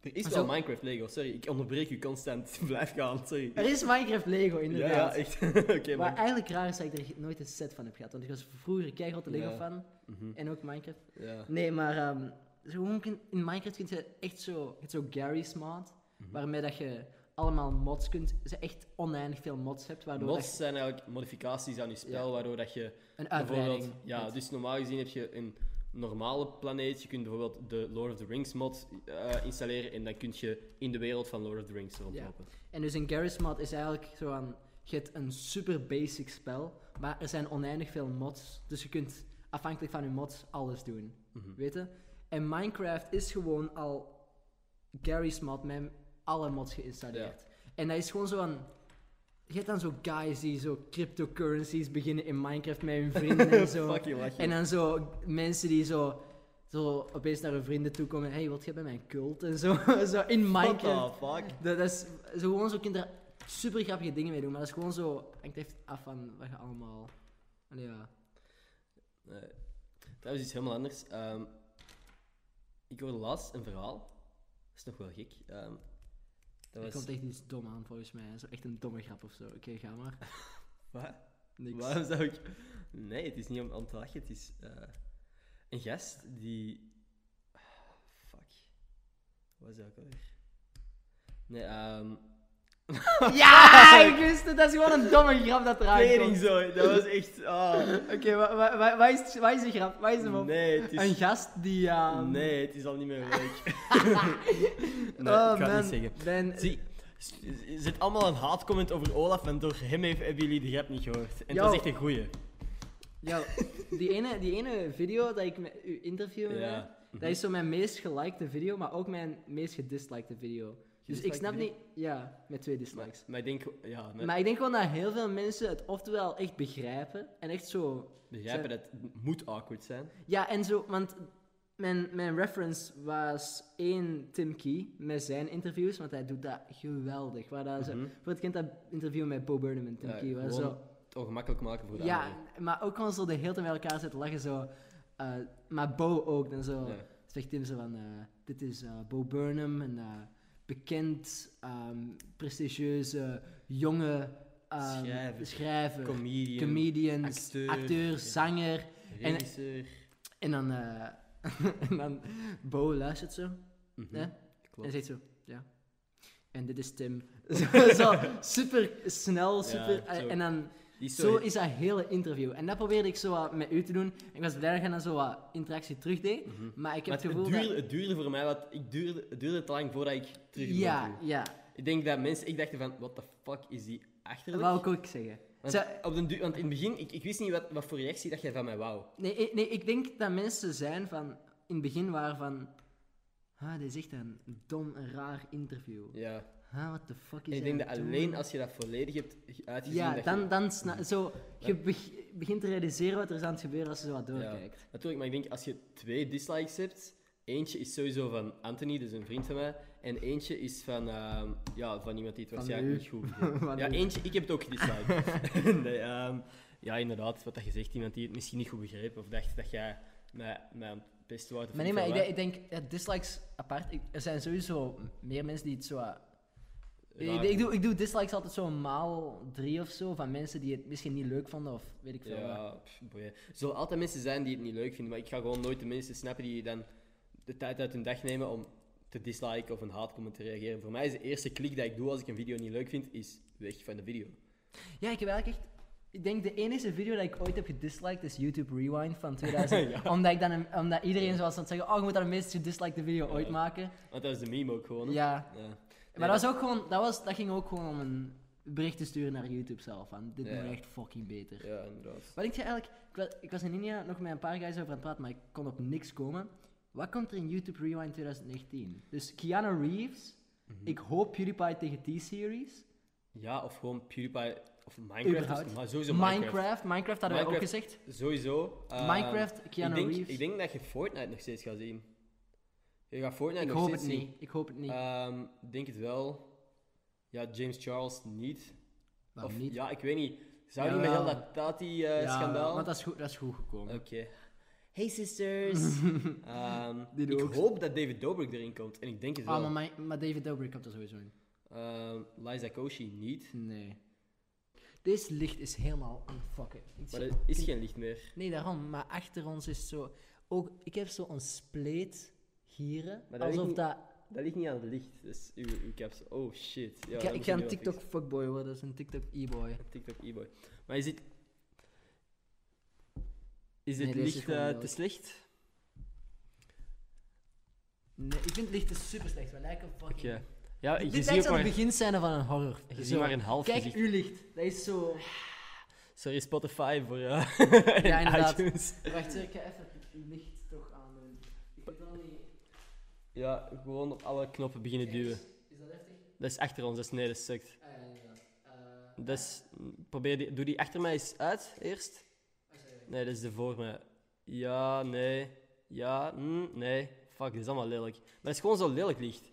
Speaker 1: Er is
Speaker 2: Maar
Speaker 1: wel
Speaker 2: zo-
Speaker 1: Minecraft Lego, sorry. Ik onderbreek u constant. *laughs* Blijf gaan, sorry.
Speaker 2: Er is Minecraft Lego,
Speaker 1: Ja,
Speaker 2: inderdaad.
Speaker 1: ja, echt. *laughs* Oké,
Speaker 2: Maar
Speaker 1: maar...
Speaker 2: eigenlijk raar is dat ik er nooit een set van heb gehad, want ik was vroeger keigrote
Speaker 1: Ja.
Speaker 2: Lego-fan.
Speaker 1: Mhm,
Speaker 2: En ook Minecraft.
Speaker 1: ja.
Speaker 2: Nee, maar ehm, zo gewoon kun- in Minecraft kun je echt zo, je hebt zo Gary's mod, waarmee dat je allemaal mods kunt, dus je echt oneindig veel mods hebt, waardoor dat
Speaker 1: Mods zijn eigenlijk modificaties aan je spel,
Speaker 2: Ja.
Speaker 1: waardoor dat je
Speaker 2: je een uitbreiding
Speaker 1: Bijvoorbeeld, ja,
Speaker 2: hebt.
Speaker 1: dus normaal gezien heb je een normale planeet. Je kunt bijvoorbeeld de Lord of the Rings mod eh, installeren en dan kun je in de wereld van Lord of the Rings rondlopen.
Speaker 2: En dus een Gary's mod is eigenlijk zo aan, je hebt een super basic spel, maar er zijn oneindig veel mods, dus je kunt afhankelijk van je mods alles doen,
Speaker 1: Mhm.
Speaker 2: weet je? En Minecraft is gewoon al Gary's mod met alle mods geïnstalleerd. En dat is gewoon zo aan... Je hebt dan zo guys die zo cryptocurrencies beginnen in Minecraft met hun vrienden en zo.
Speaker 1: Fuck you, lach je.
Speaker 2: En dan zo mensen die zo, zo opeens naar hun vrienden toe komen. Hey, wat jij bij mijn cult? En zo, *laughs* zo in
Speaker 1: What the
Speaker 2: Minecraft.
Speaker 1: fuck?
Speaker 2: Dat, dat is zo gewoon zo kinderen super grappige dingen mee doen. Maar dat is gewoon zo. Hangt echt af van wat je allemaal. Allee, ja.
Speaker 1: Nee. Trouwens, iets helemaal anders. Ehm, ik hoorde laatst een verhaal. Dat is nog wel gek. Ehm, dat
Speaker 2: Er
Speaker 1: was...
Speaker 2: komt echt iets dom aan volgens mij. Zo echt een domme grap of zo. Oké, ga maar.
Speaker 1: Wat?
Speaker 2: Niks. *laughs*
Speaker 1: Waarom zou ik... Nee, het is niet om aan te lachen. Het is eh, een gast die... Ah, Fuck. Wat is dat ook alweer? Nee, ehm...
Speaker 2: Ja, Ah, ik wist het. Dat is gewoon een domme grap dat eruit
Speaker 1: Kleding
Speaker 2: komt.
Speaker 1: zo, dat was echt... *laughs* ah.
Speaker 2: Oké, wa- wa- wa- wat is, wat is de grap? Wat is de mop?
Speaker 1: Nee, het
Speaker 2: Een
Speaker 1: is...
Speaker 2: gast die... ehm, ja
Speaker 1: Nee, het is al *laughs* niet meer leuk. Ah, nee,
Speaker 2: oh,
Speaker 1: ik ga
Speaker 2: man.
Speaker 1: het niet zeggen.
Speaker 2: Ben,
Speaker 1: Zie, er zit allemaal een haatcomment over Olaf en door hem heeft, hebben jullie de grap niet gehoord. En
Speaker 2: Yo.
Speaker 1: dat is echt een goeie.
Speaker 2: Ja, die ene, die ene video dat ik met u interview met
Speaker 1: Ja.
Speaker 2: mij, dat is zo mijn meest gelikte video, maar ook mijn meest gedislikte video. Dus ik
Speaker 1: Gedislikte
Speaker 2: snap
Speaker 1: video?
Speaker 2: niet... Ja, met twee
Speaker 1: Maar,
Speaker 2: dislikes.
Speaker 1: maar ik denk, ja, maar
Speaker 2: Maar ik denk gewoon dat heel veel mensen het oftewel echt begrijpen en echt zo...
Speaker 1: begrijpen dat het moet awkward zijn.
Speaker 2: Ja, en zo, want mijn, mijn reference was één Tim Key met zijn interviews, want hij doet dat geweldig. Waar dat
Speaker 1: Mhm.
Speaker 2: zo, voor het kind dat interview met Bo Burnham en Tim
Speaker 1: Ja,
Speaker 2: Key was
Speaker 1: gewoon
Speaker 2: zo...
Speaker 1: het ongemakkelijk maken voor de
Speaker 2: Ja,
Speaker 1: anderen.
Speaker 2: maar ook gewoon zo de hele tijd met elkaar zitten lachen zo. eh, maar Bo ook, dan zo...
Speaker 1: Ja.
Speaker 2: Zegt Tim zo van, eh, dit is eh, Bo Burnham, een eh, bekend, ehm, prestigieuze, jonge ehm,
Speaker 1: Schrijver.
Speaker 2: schrijver,
Speaker 1: Comedian,
Speaker 2: comedian,
Speaker 1: acteur.
Speaker 2: acteur, zanger.
Speaker 1: regisseur.
Speaker 2: En dan, eh, *laughs* en dan Bo luistert zo.
Speaker 1: Mhm,
Speaker 2: hè,
Speaker 1: Klopt.
Speaker 2: en zegt zo, ja.
Speaker 1: *laughs*
Speaker 2: En dit is Tim. zo, zo super snel,
Speaker 1: Ja,
Speaker 2: super. eh,
Speaker 1: zo.
Speaker 2: en dan
Speaker 1: Die is zo-
Speaker 2: Zo is dat hele interview. En dat probeerde ik zo wat met u te doen. Ik was blij dat je dan zo wat interactie terugdeed. Maar ik heb
Speaker 1: Mhm. Maar
Speaker 2: het
Speaker 1: het,
Speaker 2: gevoel
Speaker 1: duurde,
Speaker 2: dat...
Speaker 1: het duurde voor mij, want ik duurde, het duurde te lang voordat ik terug
Speaker 2: Ja, ja.
Speaker 1: Ik denk dat mensen, ik dacht van, what the fuck is die
Speaker 2: Dat
Speaker 1: achterlijk?
Speaker 2: wou ik ook zeggen.
Speaker 1: Want,
Speaker 2: Zo-
Speaker 1: op den duur- want in het begin, ik, ik wist niet wat, wat voor reactie dat jij van mij wou.
Speaker 2: nee, ik- nee, ik denk dat mensen zijn van... In het begin waren van... Ah, dit is echt een dom, en raar interview.
Speaker 1: Ja.
Speaker 2: Ah, what the fuck is
Speaker 1: En ik
Speaker 2: hij
Speaker 1: denk
Speaker 2: aan
Speaker 1: dat
Speaker 2: het doen?
Speaker 1: alleen als je dat volledig hebt uitgezien...
Speaker 2: Ja,
Speaker 1: dat
Speaker 2: dan,
Speaker 1: Je,
Speaker 2: dan sna- zo, je beg- begint te realiseren wat er is aan het gebeuren als je zo wat
Speaker 1: ja.
Speaker 2: doorkijkt.
Speaker 1: Natuurlijk, maar ik denk als je twee dislikes hebt... Eentje is sowieso van Anthony, dus een vriend van mij. En eentje is van, ehm, ja, van iemand die het waarschijnlijk
Speaker 2: u.
Speaker 1: niet goed vindt.
Speaker 2: *laughs* Van
Speaker 1: Ja,
Speaker 2: u.
Speaker 1: eentje, ik heb het ook
Speaker 2: *laughs*
Speaker 1: gedisliked. *laughs* nee, ehm, ja, inderdaad, wat dat je zegt. Iemand die het misschien niet goed begreep of dacht dat jij mij, mij aan het pesten wou. of
Speaker 2: Maar
Speaker 1: ik
Speaker 2: nee, maar
Speaker 1: veel
Speaker 2: ik,
Speaker 1: wat.
Speaker 2: denk- ik denk, ja, dislikes apart, ik- er zijn sowieso meer mensen die het zo... eh,
Speaker 1: Raar
Speaker 2: Ik, ik, doe, ik doe dislikes altijd zo maal drie of zo, van mensen die het misschien niet leuk vonden of weet ik veel. wat.
Speaker 1: Ja, pff, boeien. Er zullen altijd mensen zijn die het niet leuk vinden, maar ik ga gewoon nooit de mensen snappen die dan de tijd uit hun dag nemen om te disliken of een haatcomment te reageren. Voor mij is de eerste klik dat ik doe als ik een video niet leuk vind, is weg van de video.
Speaker 2: Ja, ik heb eigenlijk echt... Ik denk de enige video dat ik ooit heb gedisliked is YouTube Rewind
Speaker 1: *laughs*
Speaker 2: van 2000. omdat, ik dan een- omdat iedereen zoals ze aan het zeggen, oh, je moet dan de meest gedislikte video ooit
Speaker 1: Ja.
Speaker 2: maken.
Speaker 1: Want dat is de meme ook gewoon. hè?
Speaker 2: Ja.
Speaker 1: Ja.
Speaker 2: maar
Speaker 1: Nee,
Speaker 2: dat, was ook gewoon, dat, was, dat ging ook gewoon om een bericht te sturen naar YouTube zelf. Van, dit
Speaker 1: Ja.
Speaker 2: moet echt fucking beter.
Speaker 1: Ja, inderdaad.
Speaker 2: Wat ik zei eigenlijk, ik was, ik was in India nog met een paar guys over aan het praten, maar ik kon op niks komen. Wat komt er in YouTube Rewind 2019? Dus Keanu Reeves,
Speaker 1: Mhm.
Speaker 2: ik hoop PewDiePie tegen T-Series.
Speaker 1: Ja, of gewoon PewDiePie of Minecraft.
Speaker 2: Überhaupt.
Speaker 1: Of, maar sowieso
Speaker 2: Minecraft,
Speaker 1: Minecraft.
Speaker 2: Minecraft, hadden wij ook
Speaker 1: Minecraft.
Speaker 2: gezegd.
Speaker 1: Sowieso. Ehm,
Speaker 2: Minecraft, Keanu
Speaker 1: ik denk,
Speaker 2: Reeves.
Speaker 1: Ik denk dat je Fortnite nog steeds gaat zien. Je gaat Fortnite
Speaker 2: Ik
Speaker 1: nog
Speaker 2: hoop
Speaker 1: steeds
Speaker 2: het
Speaker 1: zien.
Speaker 2: niet, ik hoop het niet.
Speaker 1: Ehm, Ik denk het wel. Ja, James Charles niet.
Speaker 2: Waarom
Speaker 1: Of-
Speaker 2: niet?
Speaker 1: Ja, eh, ik weet niet. Zou die met heel
Speaker 2: Jawel.
Speaker 1: dat
Speaker 2: Ja,
Speaker 1: Tati-schandaal?
Speaker 2: Want dat is goed, dat is goed gekomen.
Speaker 1: Oké. Hey
Speaker 2: *laughs*
Speaker 1: sisters! Ehm,
Speaker 2: Die
Speaker 1: ik
Speaker 2: ook.
Speaker 1: hoop dat David Dobrik erin komt. En ik denk het wel.
Speaker 2: Ah, maar, mijn- maar David Dobrik komt er sowieso in.
Speaker 1: Ehm, Liza Koshy niet.
Speaker 2: Nee. Deze licht is helemaal unfucking. Ik
Speaker 1: Maar
Speaker 2: zie-
Speaker 1: er is geen licht meer.
Speaker 2: Nee, daarom. Maar achter ons is zo... Ook, ik heb zo'n spleet hier.
Speaker 1: Maar dat
Speaker 2: Alsof
Speaker 1: ligt
Speaker 2: dat...
Speaker 1: Dat ligt niet aan het licht. Dus uw, uw caps. Oh shit. Ja,
Speaker 2: Ik ga,
Speaker 1: dat
Speaker 2: ik
Speaker 1: moet
Speaker 2: ga
Speaker 1: nu
Speaker 2: een
Speaker 1: wel
Speaker 2: TikTok
Speaker 1: fixen.
Speaker 2: fuckboy worden. Dat is een TikTok e-boy.
Speaker 1: TikTok e-boy. Maar is het. Is
Speaker 2: Nee,
Speaker 1: het
Speaker 2: deze is
Speaker 1: licht
Speaker 2: gewoon
Speaker 1: eh,
Speaker 2: dood.
Speaker 1: te slecht?
Speaker 2: Nee, ik vind het licht is super slecht. We lijken fucking...
Speaker 1: Oké. Ja, je
Speaker 2: Dit
Speaker 1: ziet
Speaker 2: lijkt
Speaker 1: ook
Speaker 2: aan het
Speaker 1: maar,
Speaker 2: beginscène van een horror.
Speaker 1: je ziet
Speaker 2: Zo.
Speaker 1: maar een half
Speaker 2: Kijk,
Speaker 1: gezicht.
Speaker 2: uw licht. Dat is zo...
Speaker 1: Sorry, Spotify voor eh *laughs*
Speaker 2: *laughs* Ja,
Speaker 1: en
Speaker 2: inderdaad.
Speaker 1: iTunes.
Speaker 2: Wacht, ik ga even uw licht toch aandoen. Ik weet wel niet...
Speaker 1: Ja, gewoon op alle knoppen beginnen duwen.
Speaker 2: Is dat heftig?
Speaker 1: Dat is achter ons, dat is nee, dat sukt.
Speaker 2: Ah, ja, inderdaad. Eh,
Speaker 1: Dat is, probeer die, doe die achter mij eens uit, eerst.
Speaker 2: Oh,
Speaker 1: Nee, dat is de voor mij. Ja, nee. Ja, mm, nee. Fuck, dit is allemaal lelijk. Maar het is gewoon zo lelijk licht.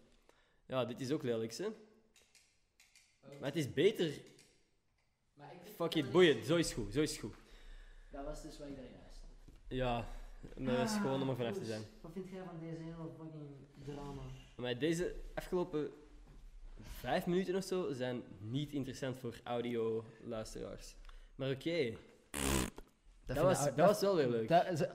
Speaker 1: Ja, dit is ook lelijk,
Speaker 2: Oh.
Speaker 1: hè. Maar het is beter.
Speaker 2: maar ik vind-
Speaker 1: Fuck it, boeien. Zo is goed, zo is goed.
Speaker 2: Dat was dus wat ik daar juist had.
Speaker 1: Ja, maar
Speaker 2: Ah,
Speaker 1: dat is gewoon om er vanaf te zijn.
Speaker 2: Wat vind jij van deze hele fucking drama?
Speaker 1: Maar deze afgelopen vijf minuten of zo zijn niet interessant voor audio-luisteraars. Maar oké, dat, was, dat, was wel weer leuk.
Speaker 2: nou- Dat, is-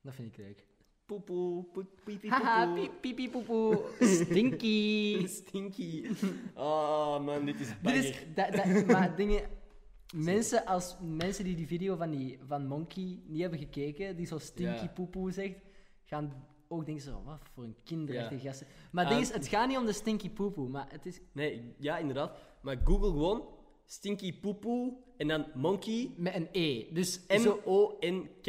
Speaker 2: dat vind ik leuk.
Speaker 1: Poepoe, poep, piep, piep,
Speaker 2: Haha,
Speaker 1: poepoe.
Speaker 2: piep, piep, piep,
Speaker 1: *laughs*
Speaker 2: poepoe. Stinky. *laughs*
Speaker 1: Stinky. Oh man, dit is
Speaker 2: Dit
Speaker 1: banger.
Speaker 2: is, dat,
Speaker 1: *laughs*
Speaker 2: dat, maar dingen... Mensen, als, mensen die die video van, die, van Monkey niet hebben gekeken, die zo stinky
Speaker 1: Ja.
Speaker 2: poepoe zegt, gaan ook denken zo, wat voor een kinderachtige
Speaker 1: Ja.
Speaker 2: gasten. Maar het
Speaker 1: Ehm,
Speaker 2: ding is, het gaat niet om de stinky poepoe, maar het is
Speaker 1: Nee, ja, inderdaad. Maar Google gewoon Stinky Poepoe en dan Monkey.
Speaker 2: met een E. Dus, zo,
Speaker 1: M-O-N-K-E.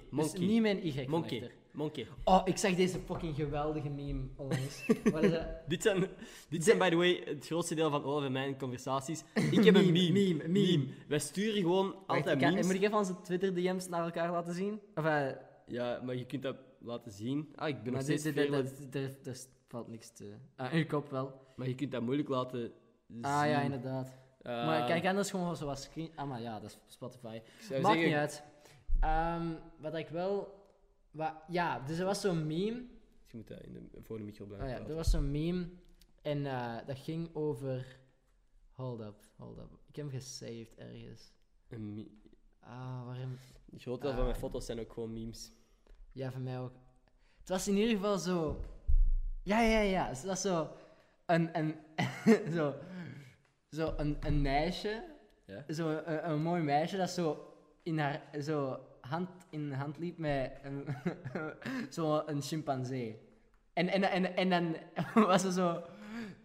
Speaker 1: E. Monkey.
Speaker 2: niet met een Y.
Speaker 1: Monkey.
Speaker 2: erachter.
Speaker 1: Monkey.
Speaker 2: Oh, ik zag deze fucking geweldige meme
Speaker 1: *laughs*
Speaker 2: onlangs. Wat is dat?
Speaker 1: Dit zijn, dit zijn, by the way, het grootste deel van Olaf en mijn
Speaker 2: *laughs*
Speaker 1: conversaties. Ik heb een meme.
Speaker 2: Meme, meme, meme.
Speaker 1: Wij sturen gewoon
Speaker 2: Wacht,
Speaker 1: altijd
Speaker 2: ik ga-
Speaker 1: memes.
Speaker 2: Moet ik even onze Twitter-DM's naar elkaar laten zien? Of, eh,
Speaker 1: Ja, maar je kunt dat laten zien. Ah, ik ben nog
Speaker 2: maar
Speaker 1: steeds
Speaker 2: dit, dit, dit,
Speaker 1: veerlijk.
Speaker 2: dit- dit- dit valt niks te... Ah, in je kop wel.
Speaker 1: Maar je kunt dat moeilijk laten zien.
Speaker 2: Ah ja, inderdaad.
Speaker 1: Eh,
Speaker 2: maar kijk, anders gewoon zoals screen... Ah, maar ja, dat is Spotify.
Speaker 1: ik zou
Speaker 2: Maakt
Speaker 1: zeggen-
Speaker 2: niet uit. Ehm, wat ik wel... wa- ja, dus er was zo'n meme.
Speaker 1: Je moet dat in de, voor de micro
Speaker 2: Oh
Speaker 1: blijven
Speaker 2: ja,
Speaker 1: praten.
Speaker 2: er was zo'n meme. En eh, dat ging over... Hold up, hold up. Ik heb hem gesaved ergens.
Speaker 1: Een me-
Speaker 2: Ah, waarom...
Speaker 1: Een groot deel
Speaker 2: Ah.
Speaker 1: van mijn foto's zijn ook gewoon memes.
Speaker 2: Ja, voor mij ook. Het was in ieder geval *laughs* zo. Ja, ja, ja. Het was zo. Een. een zo. Zo een, een meisje,
Speaker 1: Ja?
Speaker 2: zo een, een mooi meisje dat zo in haar zo hand in hand liep met een, *laughs* zo een chimpansee. En, en, en, en dan *laughs* was ze zo.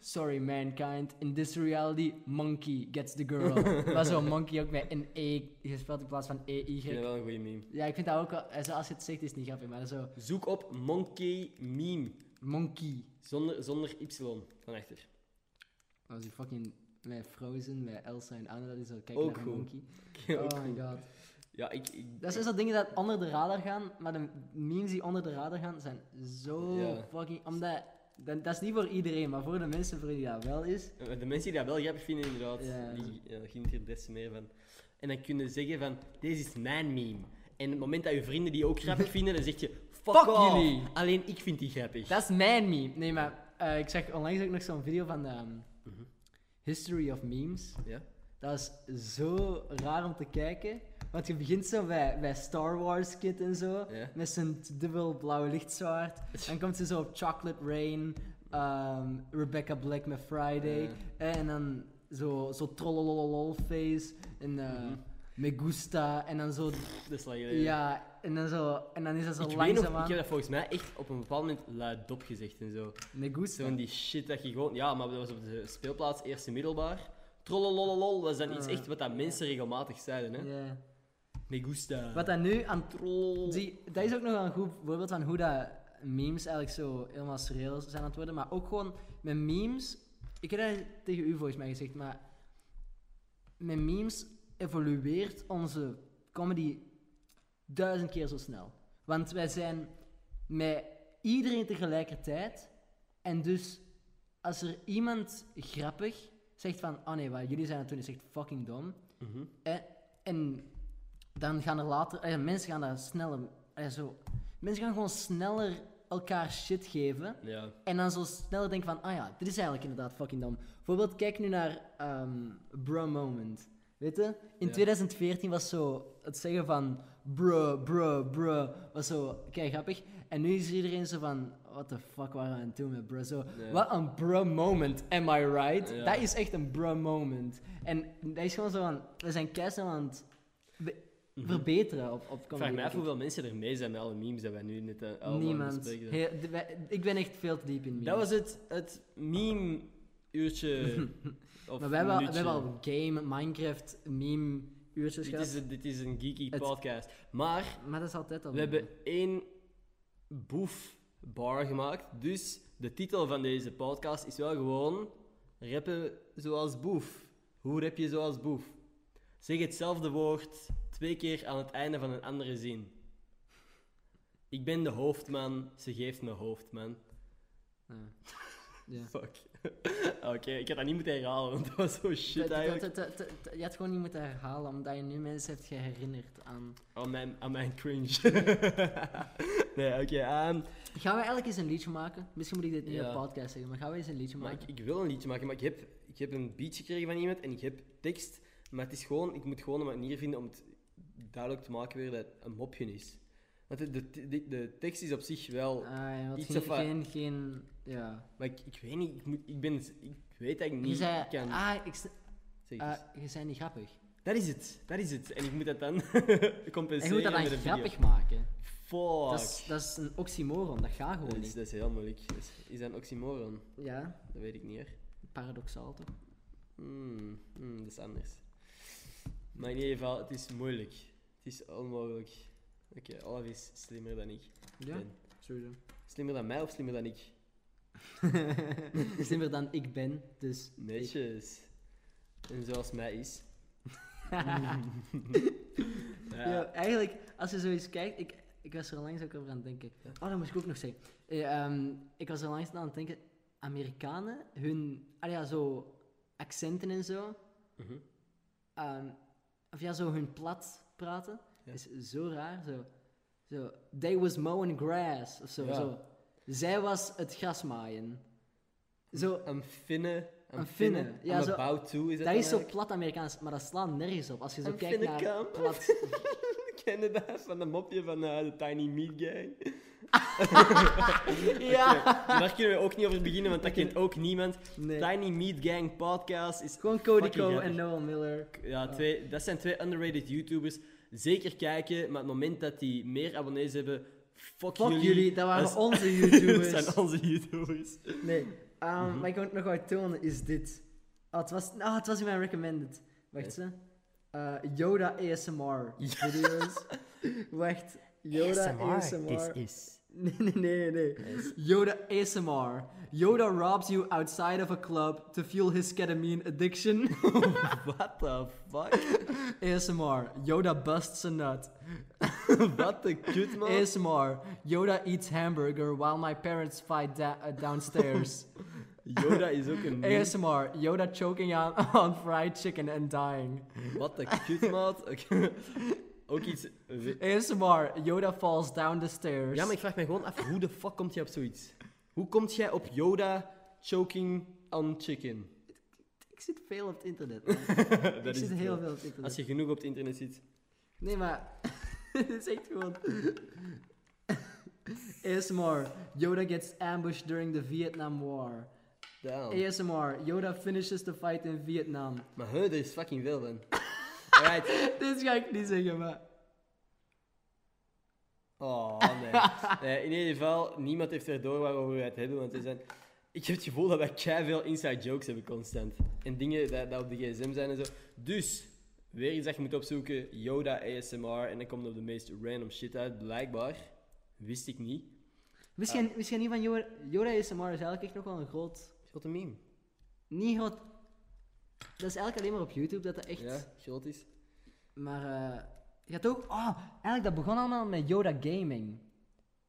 Speaker 2: Sorry mankind, in this reality, monkey gets the girl. was zo monkey ook met een E gespeeld in plaats van
Speaker 1: Ik vind
Speaker 2: EY.
Speaker 1: dat wel een goede meme.
Speaker 2: Ja, ik vind dat ook wel. eh, zo Als je het zegt, is het niet grappig, maar dat is zo.
Speaker 1: Zoek op monkey meme.
Speaker 2: Monkey.
Speaker 1: Zonder, zonder y van achter. *laughs*
Speaker 2: Dat was die fucking. Met Frozen, met Elsa en Anna, dat is zo. Kijk
Speaker 1: Ook
Speaker 2: naar een
Speaker 1: goed. *laughs*
Speaker 2: monkey.
Speaker 1: Ook
Speaker 2: Oh
Speaker 1: goed.
Speaker 2: my god.
Speaker 1: Ja, ik... ik
Speaker 2: Dat zijn zo dingen dat onder de radar gaan, maar de memes die onder de radar gaan zijn zo
Speaker 1: Ja.
Speaker 2: fucking. Omdat. Dat, dat is niet voor iedereen, maar voor de mensen voor wie dat wel is.
Speaker 1: Eh, De mensen die dat wel grappig vinden, inderdaad,
Speaker 2: Ja.
Speaker 1: die ja, genieten er des te meer van. En dan kunnen zeggen van, deze is mijn meme. En het moment dat je vrienden die ook
Speaker 2: *laughs*
Speaker 1: grappig vinden, dan zeg je, fuck,
Speaker 2: Fuck
Speaker 1: off.
Speaker 2: jullie.
Speaker 1: Alleen ik vind die grappig.
Speaker 2: Dat is mijn meme. Nee, maar eh, ik zag onlangs ook nog zo'n video van de ehm,
Speaker 1: Mhm.
Speaker 2: History of Memes.
Speaker 1: Ja?
Speaker 2: Dat is zo raar om te kijken. Want je begint zo bij, bij Star Wars Kid en zo.
Speaker 1: Ja.
Speaker 2: Met zijn dubbel blauwe lichtzwaard. Dan komt ze zo op Chocolate Rain. ehm, Rebecca Black met Friday. En dan zo, zo trollololol face. En eh,
Speaker 1: Mhm.
Speaker 2: Me Gusta. En dan zo...
Speaker 1: Dus Dat is lang geleden.
Speaker 2: Ja, en dan zo... En dan is dat zo
Speaker 1: Ik, weet nog, ik
Speaker 2: langzaamaan.
Speaker 1: heb dat volgens mij echt op een bepaald moment luidop gezegd en zo.
Speaker 2: Me Gusta.
Speaker 1: Zo'n die shit dat je gewoon... Ja, maar dat was op de speelplaats, eerste middelbaar. Trollololol was dan iets
Speaker 2: Ah,
Speaker 1: echt wat dat mensen regelmatig zeiden, hè.
Speaker 2: Ja.
Speaker 1: Me gusta.
Speaker 2: Wat dat nu aan
Speaker 1: Troll.
Speaker 2: Zie, dat is ook nog wel een goed voorbeeld van hoe dat memes eigenlijk zo helemaal surreal zijn aan het worden. Maar ook gewoon met memes. Ik heb dat tegen u volgens mij gezegd, maar met memes evolueert onze comedy duizend keer zo snel. Want wij zijn met iedereen tegelijkertijd. En dus als er iemand grappig zegt van, oh nee, wat jullie zijn aan het doen is echt fucking dom.
Speaker 1: Mhm.
Speaker 2: En, en dan gaan er later... eh, mensen gaan daar sneller... eh, zo, mensen gaan gewoon sneller elkaar shit geven.
Speaker 1: Ja.
Speaker 2: En dan zo sneller denken van... Ah ja, dit is eigenlijk inderdaad fucking dom. Bijvoorbeeld, kijk nu naar ehm Bro Moment. Weet je? In
Speaker 1: Ja.
Speaker 2: 2014 was zo het zeggen van... Bro, bro, bro. Was zo kei grappig. En nu is iedereen zo van... What the fuck waren we aan het doen met bro? Zo,
Speaker 1: Ja.
Speaker 2: wat een bro moment, am I right?
Speaker 1: Ja.
Speaker 2: Dat is echt een bro moment. En dat is gewoon zo van... We zijn kei snel aan het be- verbeteren op, op
Speaker 1: Ik Mhm. vraag me af
Speaker 2: comedy, denk ik.
Speaker 1: hoeveel mensen er mee zijn met alle memes dat wij nu net eh, allemaal
Speaker 2: Niemand.
Speaker 1: bespreken.
Speaker 2: Heel- de- wij- ik ben echt veel te diep in memes.
Speaker 1: Dat was het, het meme-uurtje.
Speaker 2: *laughs*
Speaker 1: of
Speaker 2: Maar we hebben, al- we
Speaker 1: minuutje.
Speaker 2: hebben al game, Minecraft, meme, uurtjes
Speaker 1: Dit is,
Speaker 2: gehad.
Speaker 1: een- dit is een geeky
Speaker 2: Het-
Speaker 1: podcast. Maar
Speaker 2: Maar dat is altijd al.
Speaker 1: we hebben één boef bar gemaakt. Dus de titel van deze podcast is wel gewoon... Rappen zoals boef. Hoe rap je zoals boef? Zeg hetzelfde woord twee keer aan het einde van een andere zin. Ik ben de hoofdman, ze geeft me hoofdman.
Speaker 2: Ja. Ja.
Speaker 1: *laughs* Fuck. Oké, ik had dat niet moeten herhalen, want dat was zo
Speaker 2: Dat-
Speaker 1: shit
Speaker 2: dat-
Speaker 1: eigenlijk.
Speaker 2: dat- dat- dat- dat- Je had gewoon niet moeten herhalen, omdat je nu mensen hebt geherinnerd aan.
Speaker 1: Aan mijn, aan mijn oh, cringe. *laughs* nee, oké. ehm,
Speaker 2: Gaan we eigenlijk eens een liedje maken? Misschien moet ik dit niet
Speaker 1: Ja.
Speaker 2: op podcast zeggen, maar gaan we eens een liedje
Speaker 1: maar
Speaker 2: maken?
Speaker 1: ik, ik wil een liedje maken, maar ik heb, ik heb een beat gekregen van iemand en ik heb tekst. Maar het is gewoon, ik moet gewoon een manier vinden om het duidelijk te maken weer dat het een mopje is. Want de, de, de, de tekst is op zich wel...
Speaker 2: Ah, ja, want
Speaker 1: iets
Speaker 2: geen,
Speaker 1: of wat-
Speaker 2: geen, geen, ja.
Speaker 1: Maar ik, ik weet niet, ik, moet, ik, ben, ik weet dat ik
Speaker 2: Je
Speaker 1: niet
Speaker 2: zei,
Speaker 1: kan...
Speaker 2: ah, ik, s-
Speaker 1: zeg eens.
Speaker 2: ah, je zei niet grappig.
Speaker 1: dat is het, dat is het. En ik moet dat dan *laughs*
Speaker 2: En
Speaker 1: compenseren
Speaker 2: je moet dat dan
Speaker 1: met een
Speaker 2: grappig
Speaker 1: video.
Speaker 2: maken.
Speaker 1: Fuck.
Speaker 2: Dat is, dat is een oxymoron, dat gaat
Speaker 1: Dat
Speaker 2: gewoon
Speaker 1: is,
Speaker 2: niet.
Speaker 1: dat is heel moeilijk. Dat is, is dat een oxymoron?
Speaker 2: Ja,
Speaker 1: Dat weet ik niet hoor.
Speaker 2: paradoxaal toch?
Speaker 1: Hmm, hmm, dat is anders. Maar in ieder geval, het is moeilijk. Het is onmogelijk. Oké, Olaf is slimmer dan ik.
Speaker 2: Ja,
Speaker 1: ben.
Speaker 2: sowieso. *laughs*
Speaker 1: Slimmer dan mij of slimmer dan ik?
Speaker 2: Slimmer dan ik ben, dus. ik-
Speaker 1: Netjes. En zoals mij
Speaker 2: *laughs*
Speaker 1: is.
Speaker 2: Ja. eigenlijk, als je zoiets kijkt, ik, ik was er langs ook over aan het denken.
Speaker 1: Ja.
Speaker 2: Oh, dat moest ik ook nog zeggen. Eh, ehm, ik was er langs aan het denken, Amerikanen, hun, ah ja, zo, accenten en zo,
Speaker 1: Mhm.
Speaker 2: ehm, of ja, zo hun plat praten,
Speaker 1: Ja.
Speaker 2: is zo raar, zo, zo, they was mowing grass, of zo,
Speaker 1: Ja.
Speaker 2: zo. Zij was het gras maaien. Zo,
Speaker 1: I'm finne. I'm
Speaker 2: I'm finne.
Speaker 1: finne.
Speaker 2: Ja,
Speaker 1: I'm
Speaker 2: zo-
Speaker 1: about to. Is dat,
Speaker 2: dat
Speaker 1: dan eh?
Speaker 2: is zo
Speaker 1: eigenlijk?
Speaker 2: plat Amerikaans, maar dat slaat nergens op. Als je zo
Speaker 1: I'm
Speaker 2: kijkt
Speaker 1: *laughs* finna
Speaker 2: naar
Speaker 1: come.
Speaker 2: plat
Speaker 1: Ken je dat van dat mopje van eh, de Tiny Meat Gang?
Speaker 2: *laughs* ja.
Speaker 1: Daar kunnen we ook niet over beginnen, want dat kent ook niemand.
Speaker 2: Nee.
Speaker 1: Tiny Meat Gang Podcast is
Speaker 2: Gewoon Cody
Speaker 1: Fucking
Speaker 2: Co
Speaker 1: grappig.
Speaker 2: en Noel Miller.
Speaker 1: Ja,
Speaker 2: Ah.
Speaker 1: twee, dat zijn twee underrated YouTubers. Zeker kijken, maar het moment dat die meer abonnees hebben, fuck,
Speaker 2: Fuck jullie, dat waren
Speaker 1: Dat is-
Speaker 2: onze
Speaker 1: *laughs* dat
Speaker 2: YouTubers.
Speaker 1: zijn Mhm. onze YouTubers.
Speaker 2: Nee, ehm, wat ik ook nog wou tonen is dit. Ah, het was, ah, het was in mijn recommended. Wacht ze. Eh, Yoda ASMR
Speaker 1: *laughs*
Speaker 2: video's. Wacht, Yoda ASMR.
Speaker 3: is...
Speaker 2: Nee, nee, nee, nee. Yoda ASMR. Yoda robs you outside of a club to fuel his ketamine addiction.
Speaker 1: *laughs* What the
Speaker 2: *laughs*
Speaker 1: fuck?
Speaker 2: ASMR. Yoda busts a nut.
Speaker 1: Wat de kut, man.
Speaker 2: ASMR. Yoda eats hamburger while my parents fight da- uh, *laughs* downstairs.
Speaker 1: Yoda is ook
Speaker 2: *laughs*
Speaker 1: een meme.
Speaker 2: ASMR. Yoda choking on, *laughs* on fried chicken and dying.
Speaker 1: Wat de kut, maat. *laughs* Oké. ook iets...
Speaker 2: ASMR. Yoda falls down the stairs.
Speaker 1: Ja, maar ik vraag me gewoon af, hoe de fuck komt jij op zoiets? Hoe komt jij op Yoda choking on chicken?
Speaker 2: ik zit veel op het internet. *laughs* man.
Speaker 1: *laughs* Dat
Speaker 2: ik
Speaker 1: is
Speaker 2: zit
Speaker 1: het
Speaker 2: heel
Speaker 1: wel.
Speaker 2: veel op het internet.
Speaker 1: Als je genoeg op het internet zit.
Speaker 2: Nee, maar... *laughs* Dit is echt gewoon... *laughs* ASMR. Yoda gets ambushed during the Vietnam War.
Speaker 1: Damn.
Speaker 2: ASMR. Yoda finishes the fight in Vietnam. *laughs*
Speaker 1: Maar huh, er is fucking veel van. Alright.
Speaker 2: Dit ga ik niet zeggen, maar...
Speaker 1: Oh, nee. nee. In ieder geval, niemand heeft er door waarover we het hebben, want we zijn... Ik heb het gevoel dat wij keihard veel inside jokes hebben constant. En dingen dat, dat op de gsm zijn en zo. Dus, weer iets dat je moet opzoeken. Yoda ASMR. En dan komt het op de meest random shit uit, blijkbaar. Wist ik niet.
Speaker 2: Misschien, misschien niet van Yoda. Yoda ASMR is eigenlijk echt nog wel een groot...
Speaker 1: Grote meme.
Speaker 2: Niet groot... Dat is eigenlijk alleen maar op YouTube dat dat echt...
Speaker 1: Ja, groot is.
Speaker 2: Maar eh je had ook... Oh, eigenlijk dat begon allemaal met Yoda Gaming.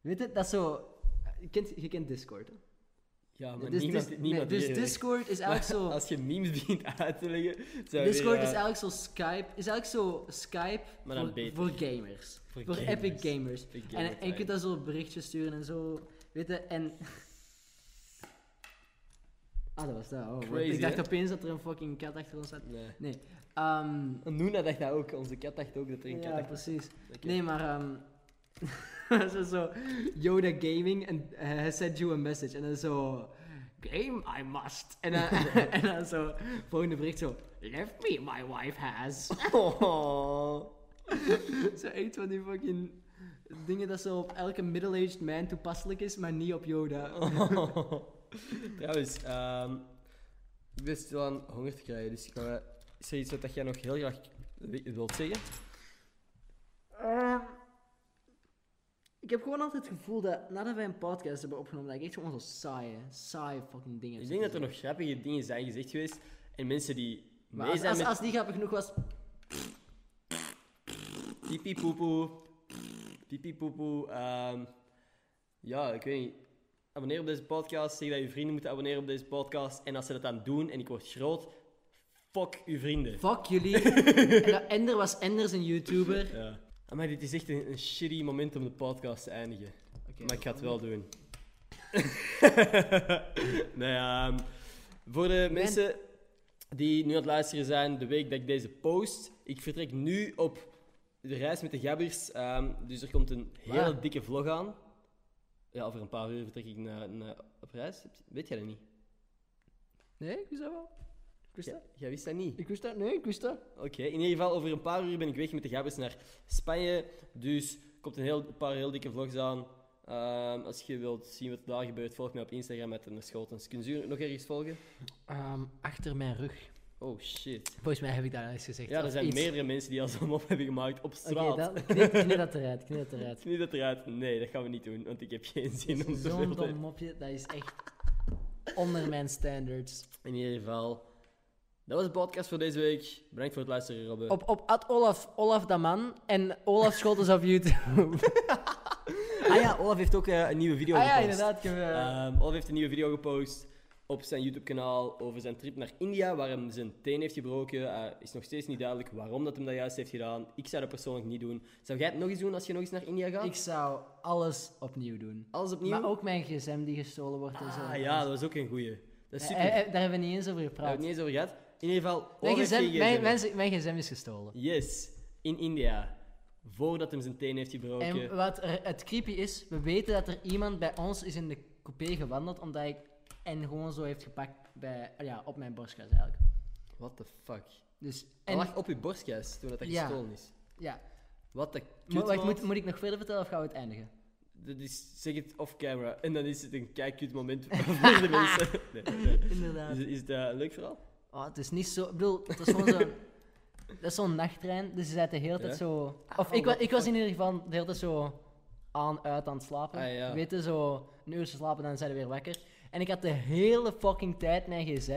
Speaker 2: Weet je, dat is zo... Je kent, je kent Discord, hè?
Speaker 1: Ja, maar
Speaker 2: dus
Speaker 1: niemand,
Speaker 2: dis- nee,
Speaker 1: niemand
Speaker 2: dus
Speaker 1: hier weet. *laughs*
Speaker 2: Discord is
Speaker 1: Maar
Speaker 2: eigenlijk zo...
Speaker 1: Als je memes begint uit te leggen... zou je,
Speaker 2: Discord
Speaker 1: ja,
Speaker 2: is eigenlijk zo Skype. Is eigenlijk zo Skype
Speaker 1: Maar dan
Speaker 2: voor,
Speaker 1: beter.
Speaker 2: voor gamers.
Speaker 1: Voor
Speaker 2: Voor,
Speaker 1: gamers.
Speaker 2: epic gamers.
Speaker 1: Epic gamer
Speaker 2: en, en je
Speaker 1: time.
Speaker 2: kunt daar zo berichtjes sturen en zo. Weet je, en... *laughs* Ah, dat was dat. Oh,
Speaker 1: Crazy,
Speaker 2: ik dacht
Speaker 1: hè?
Speaker 2: opeens dat er een fucking kat achter ons zat.
Speaker 1: Nee.
Speaker 2: Nee. ehm,
Speaker 1: Nuna dacht dat ook. Onze kat dacht ook dat er een kat
Speaker 2: ja,
Speaker 1: achter...
Speaker 2: precies.
Speaker 1: Oké.
Speaker 2: Nee, maar... ehm, *laughs* dat is zo... Yoda Gaming and uh, has sent you a message. En dan zo... Game, I must. En *laughs* dan, en dan zo... Volgende bericht zo... Left me, my wife has. *laughs*
Speaker 1: Oh.
Speaker 2: zo echt van die fucking... Dingen dat zo op elke middle-aged man toepasselijk is, maar niet op Yoda.
Speaker 1: *laughs* Trouwens, ehm, ik ben stil aan honger te krijgen, dus ik kan, eh, is er iets wat dat jij nog heel graag wi- wilt zeggen?
Speaker 2: Ehm, *laughs* ik heb gewoon altijd het gevoel dat nadat wij een podcast hebben opgenomen, dat ik echt gewoon zo saaie, saaie fucking dingen heb
Speaker 1: Ik denk dat
Speaker 2: zitten
Speaker 1: er nog grappige dingen zijn gezegd geweest en mensen die
Speaker 2: Maar
Speaker 1: mee
Speaker 2: als,
Speaker 1: zijn
Speaker 2: als,
Speaker 1: met
Speaker 2: als die grappig genoeg was,
Speaker 1: pipi poepoe, pipi poepoe. ehm, ja, ik weet niet. Abonneer op deze podcast. Zeg dat je vrienden moeten abonneren op deze podcast. En als ze dat dan doen en ik word groot, fuck uw vrienden.
Speaker 2: fuck *laughs* jullie. en dat Ender was Enders een YouTuber.
Speaker 1: Ja. Maar dit is echt een, een shitty moment om de podcast te eindigen. maar ik ga het wel doen. *laughs* nee, ehm, voor de mensen die nu aan het luisteren zijn, de week dat ik deze post, ik vertrek nu op de reis met de gabbers. ehm, dus er komt een hele
Speaker 2: Waar?
Speaker 1: dikke vlog aan. Ja, over een paar uur vertrek ik naar, naar, op reis. Weet jij dat niet?
Speaker 2: Nee, ik wist dat wel. Ik wist
Speaker 1: Ja, jij wist dat niet.
Speaker 2: Ik wist dat, nee, ik wist dat.
Speaker 1: Oké, in ieder geval over een paar uur ben ik weg met de gabbers naar Spanje. Dus er komt een, heel, een paar heel dikke vlogs aan. Ehm, als je wilt zien wat daar gebeurt, volg mij op Instagram met een schotens. Kun je nog ergens volgen?
Speaker 2: Ehm, achter mijn rug.
Speaker 1: Oh shit.
Speaker 2: Volgens mij heb ik daar al eens gezegd.
Speaker 1: Ja, er
Speaker 2: of
Speaker 1: zijn
Speaker 2: iets.
Speaker 1: meerdere mensen die al zo'n mop hebben gemaakt op
Speaker 2: Oké,
Speaker 1: straat.
Speaker 2: dat- knip, knip dat eruit, knip
Speaker 1: *laughs*
Speaker 2: dat eruit.
Speaker 1: Niet dat eruit. Nee, dat gaan we niet doen, want ik heb geen zin om te
Speaker 2: Zo'n dom
Speaker 1: filmen.
Speaker 2: mopje, dat is echt onder mijn standards.
Speaker 1: In ieder geval, dat was de podcast voor deze week. Bedankt voor het luisteren, Robbe.
Speaker 2: Op, op at Olaf, Olaf dat man en Olaf Scholtes
Speaker 1: *laughs*
Speaker 2: op YouTube.
Speaker 1: Ah ja, Olaf heeft ook eh, een nieuwe video
Speaker 2: ah ja,
Speaker 1: gepost.
Speaker 2: inderdaad. ik heb, eh,
Speaker 1: Ehm, Olaf heeft een nieuwe video gepost op zijn YouTube-kanaal over zijn trip naar India, waar hem zijn teen heeft gebroken. Eh, is nog steeds niet duidelijk waarom dat hem dat juist heeft gedaan. Ik zou dat persoonlijk niet doen. Zou jij het nog eens doen als je nog eens naar India gaat?
Speaker 2: ik zou alles opnieuw doen.
Speaker 1: Alles Ah. opnieuw?
Speaker 2: Maar ook mijn gsm die gestolen wordt en zo.
Speaker 1: Ah ja, dat was ook een goeie. Dat is
Speaker 2: Eh,
Speaker 1: super.
Speaker 2: eh,
Speaker 1: Daar
Speaker 2: daar hebben we niet eens over
Speaker 1: hebben we
Speaker 2: gepraat.
Speaker 1: het niet eens over gehad. In ieder geval, Olaf
Speaker 2: Mijn
Speaker 1: heeft
Speaker 2: gsm,
Speaker 1: geen
Speaker 2: mijn,
Speaker 1: gsm.
Speaker 2: mijn, mijn gsm is gestolen.
Speaker 1: Yes, in India. Voordat hem zijn teen heeft gebroken.
Speaker 2: En wat er- het creepy is, we weten dat er iemand bij ons is in de coupé gewandeld, omdat ik en gewoon zo heeft gepakt bij, ja, op mijn borstkas eigenlijk.
Speaker 1: What the fuck?
Speaker 2: Dus, en,
Speaker 1: Hij lag op je borstkas toen dat daar
Speaker 2: Ja.
Speaker 1: gestolen is.
Speaker 2: ja.
Speaker 1: Wat de
Speaker 2: Mo-
Speaker 1: kut,
Speaker 2: wacht,
Speaker 1: maat.
Speaker 2: moet, moet ik nog verder vertellen of gaan we het eindigen?
Speaker 1: Dat is, zeg het off camera. En dan is het een kijkkut moment *laughs* voor de
Speaker 2: *laughs*
Speaker 1: mensen. Nee, nee.
Speaker 2: Inderdaad.
Speaker 1: Is, is dat een leuk verhaal?
Speaker 2: Oh, het is niet zo. Ik bedoel, het is gewoon zo'n. *laughs* dat is zo'n nachttrein, dus je zat de hele tijd
Speaker 1: Ja?
Speaker 2: zo. Of
Speaker 1: Oh,
Speaker 2: ik, wa-
Speaker 1: what the
Speaker 2: ik was in ieder geval de hele tijd zo aan, uit aan het slapen.
Speaker 1: Ah, ja.
Speaker 2: Weet je, zo een uur slapen, dan zijn we weer wakker. En ik had de hele fucking tijd mijn gsm.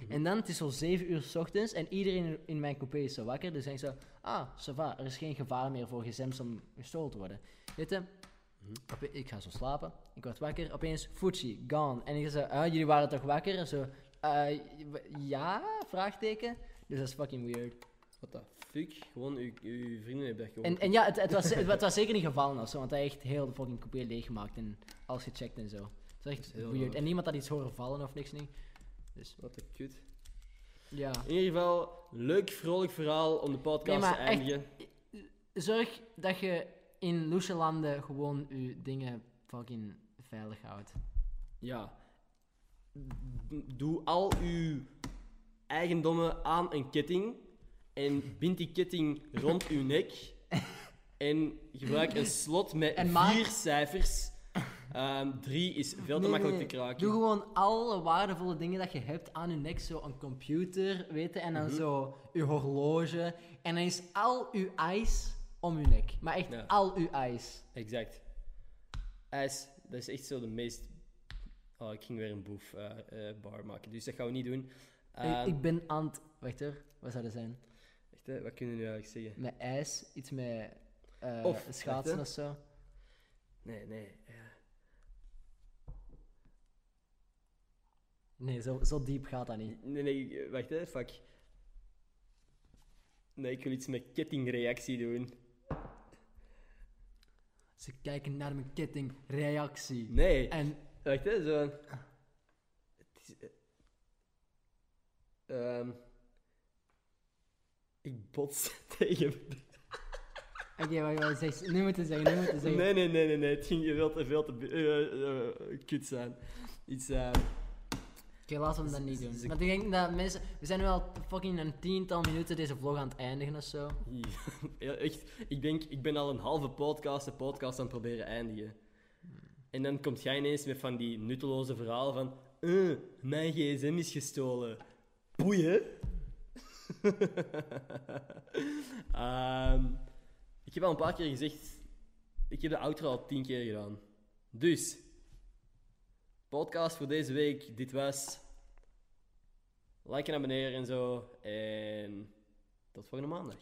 Speaker 1: Mhm.
Speaker 2: En dan, het is zo 7 uur 's ochtends en iedereen in mijn coupé is zo wakker. Dus denk zo, ah, ça va, er is geen gevaar meer voor gsm's om gestolen te worden. Weet je,
Speaker 1: Mhm.
Speaker 2: op- ik ga zo slapen. Ik word wakker. Opeens, Fuji, gone. En ik zei, ah, jullie waren toch wakker? En zo, eh, w- ja? Vraagteken. Dus dat is fucking weird.
Speaker 1: What the fuck? Gewoon, uw, uw vrienden hebben dat gewoon.
Speaker 2: En, en ja, het, het, was, het, was zeker niet gevallen of zo, want hij heeft heel de fucking coupé leeggemaakt en alles gecheckt en zo. Het is echt
Speaker 1: Dat is heel
Speaker 2: weird.
Speaker 1: raar.
Speaker 2: En niemand had iets horen vallen of niks niet.
Speaker 1: Wat een kut.
Speaker 2: Ja.
Speaker 1: In ieder geval, leuk, vrolijk verhaal om de podcast
Speaker 2: Nee, maar
Speaker 1: te eindigen.
Speaker 2: Zorg dat je in loesje landen gewoon je dingen fucking veilig houdt.
Speaker 1: Ja. Doe al uw eigendommen aan een ketting. En bind die ketting rond uw
Speaker 2: *laughs*
Speaker 1: nek. En gebruik een slot met
Speaker 2: En maak-
Speaker 1: vier cijfers. Ehm, drie is veel te
Speaker 2: Nee,
Speaker 1: makkelijk
Speaker 2: nee,
Speaker 1: te
Speaker 2: nee.
Speaker 1: kraken.
Speaker 2: Doe gewoon alle waardevolle dingen dat je hebt aan je nek. Zo een computer, weet je, en dan
Speaker 1: Mhm.
Speaker 2: zo je horloge. En dan is al je ijs om je nek. Maar echt
Speaker 1: Ja.
Speaker 2: al je ijs.
Speaker 1: Exact. IJs, dat is echt zo de meest... Oh, ik ging weer een boef eh, eh, bar maken. Dus dat gaan we niet doen.
Speaker 2: ik,
Speaker 1: Ehm,
Speaker 2: ik ben aan het... Wacht hoor, wat zou dat zijn?
Speaker 1: echt, hè, wat kunnen we nu eigenlijk zeggen?
Speaker 2: Met ijs, iets met eh,
Speaker 1: Of, wacht,
Speaker 2: schaatsen
Speaker 1: hè.
Speaker 2: of zo.
Speaker 1: Nee, nee. eh,
Speaker 2: Nee, zo, zo diep gaat dat niet.
Speaker 1: Nee, nee, eh, wacht hè, fuck. Nee, ik wil iets met kettingreactie doen.
Speaker 2: Ze kijken naar mijn kettingreactie.
Speaker 1: Nee,
Speaker 2: En Ah.
Speaker 1: wacht hè, zo. Het is, eh, ehm, ik bots *laughs* tegen.
Speaker 2: Oké, wacht, wacht, zeg- nu moeten zeggen, nu moeten zeggen.
Speaker 1: Nee, nee, nee, nee, nee, het ging veel te, veel te bu- eh, eh, kut zijn. Iets, eh,
Speaker 2: Oké, laten we dat niet doen.
Speaker 1: ze-
Speaker 2: Want ik denk dat mensen... We zijn nu al fucking een tiental minuten deze vlog aan het eindigen of zo.
Speaker 1: ja, *laughs* echt, ik denk, ik ben al een halve podcast, de podcast aan het proberen eindigen. En dan komt jij ineens met van die nutteloze verhaal van, eh, mijn gsm is gestolen. Boeien. *laughs* Ehm, ik heb al een paar keer gezegd, ik heb de outro al tien keer gedaan. Dus, podcast voor deze week, dit was. Like en abonneren en zo. En tot volgende maandag.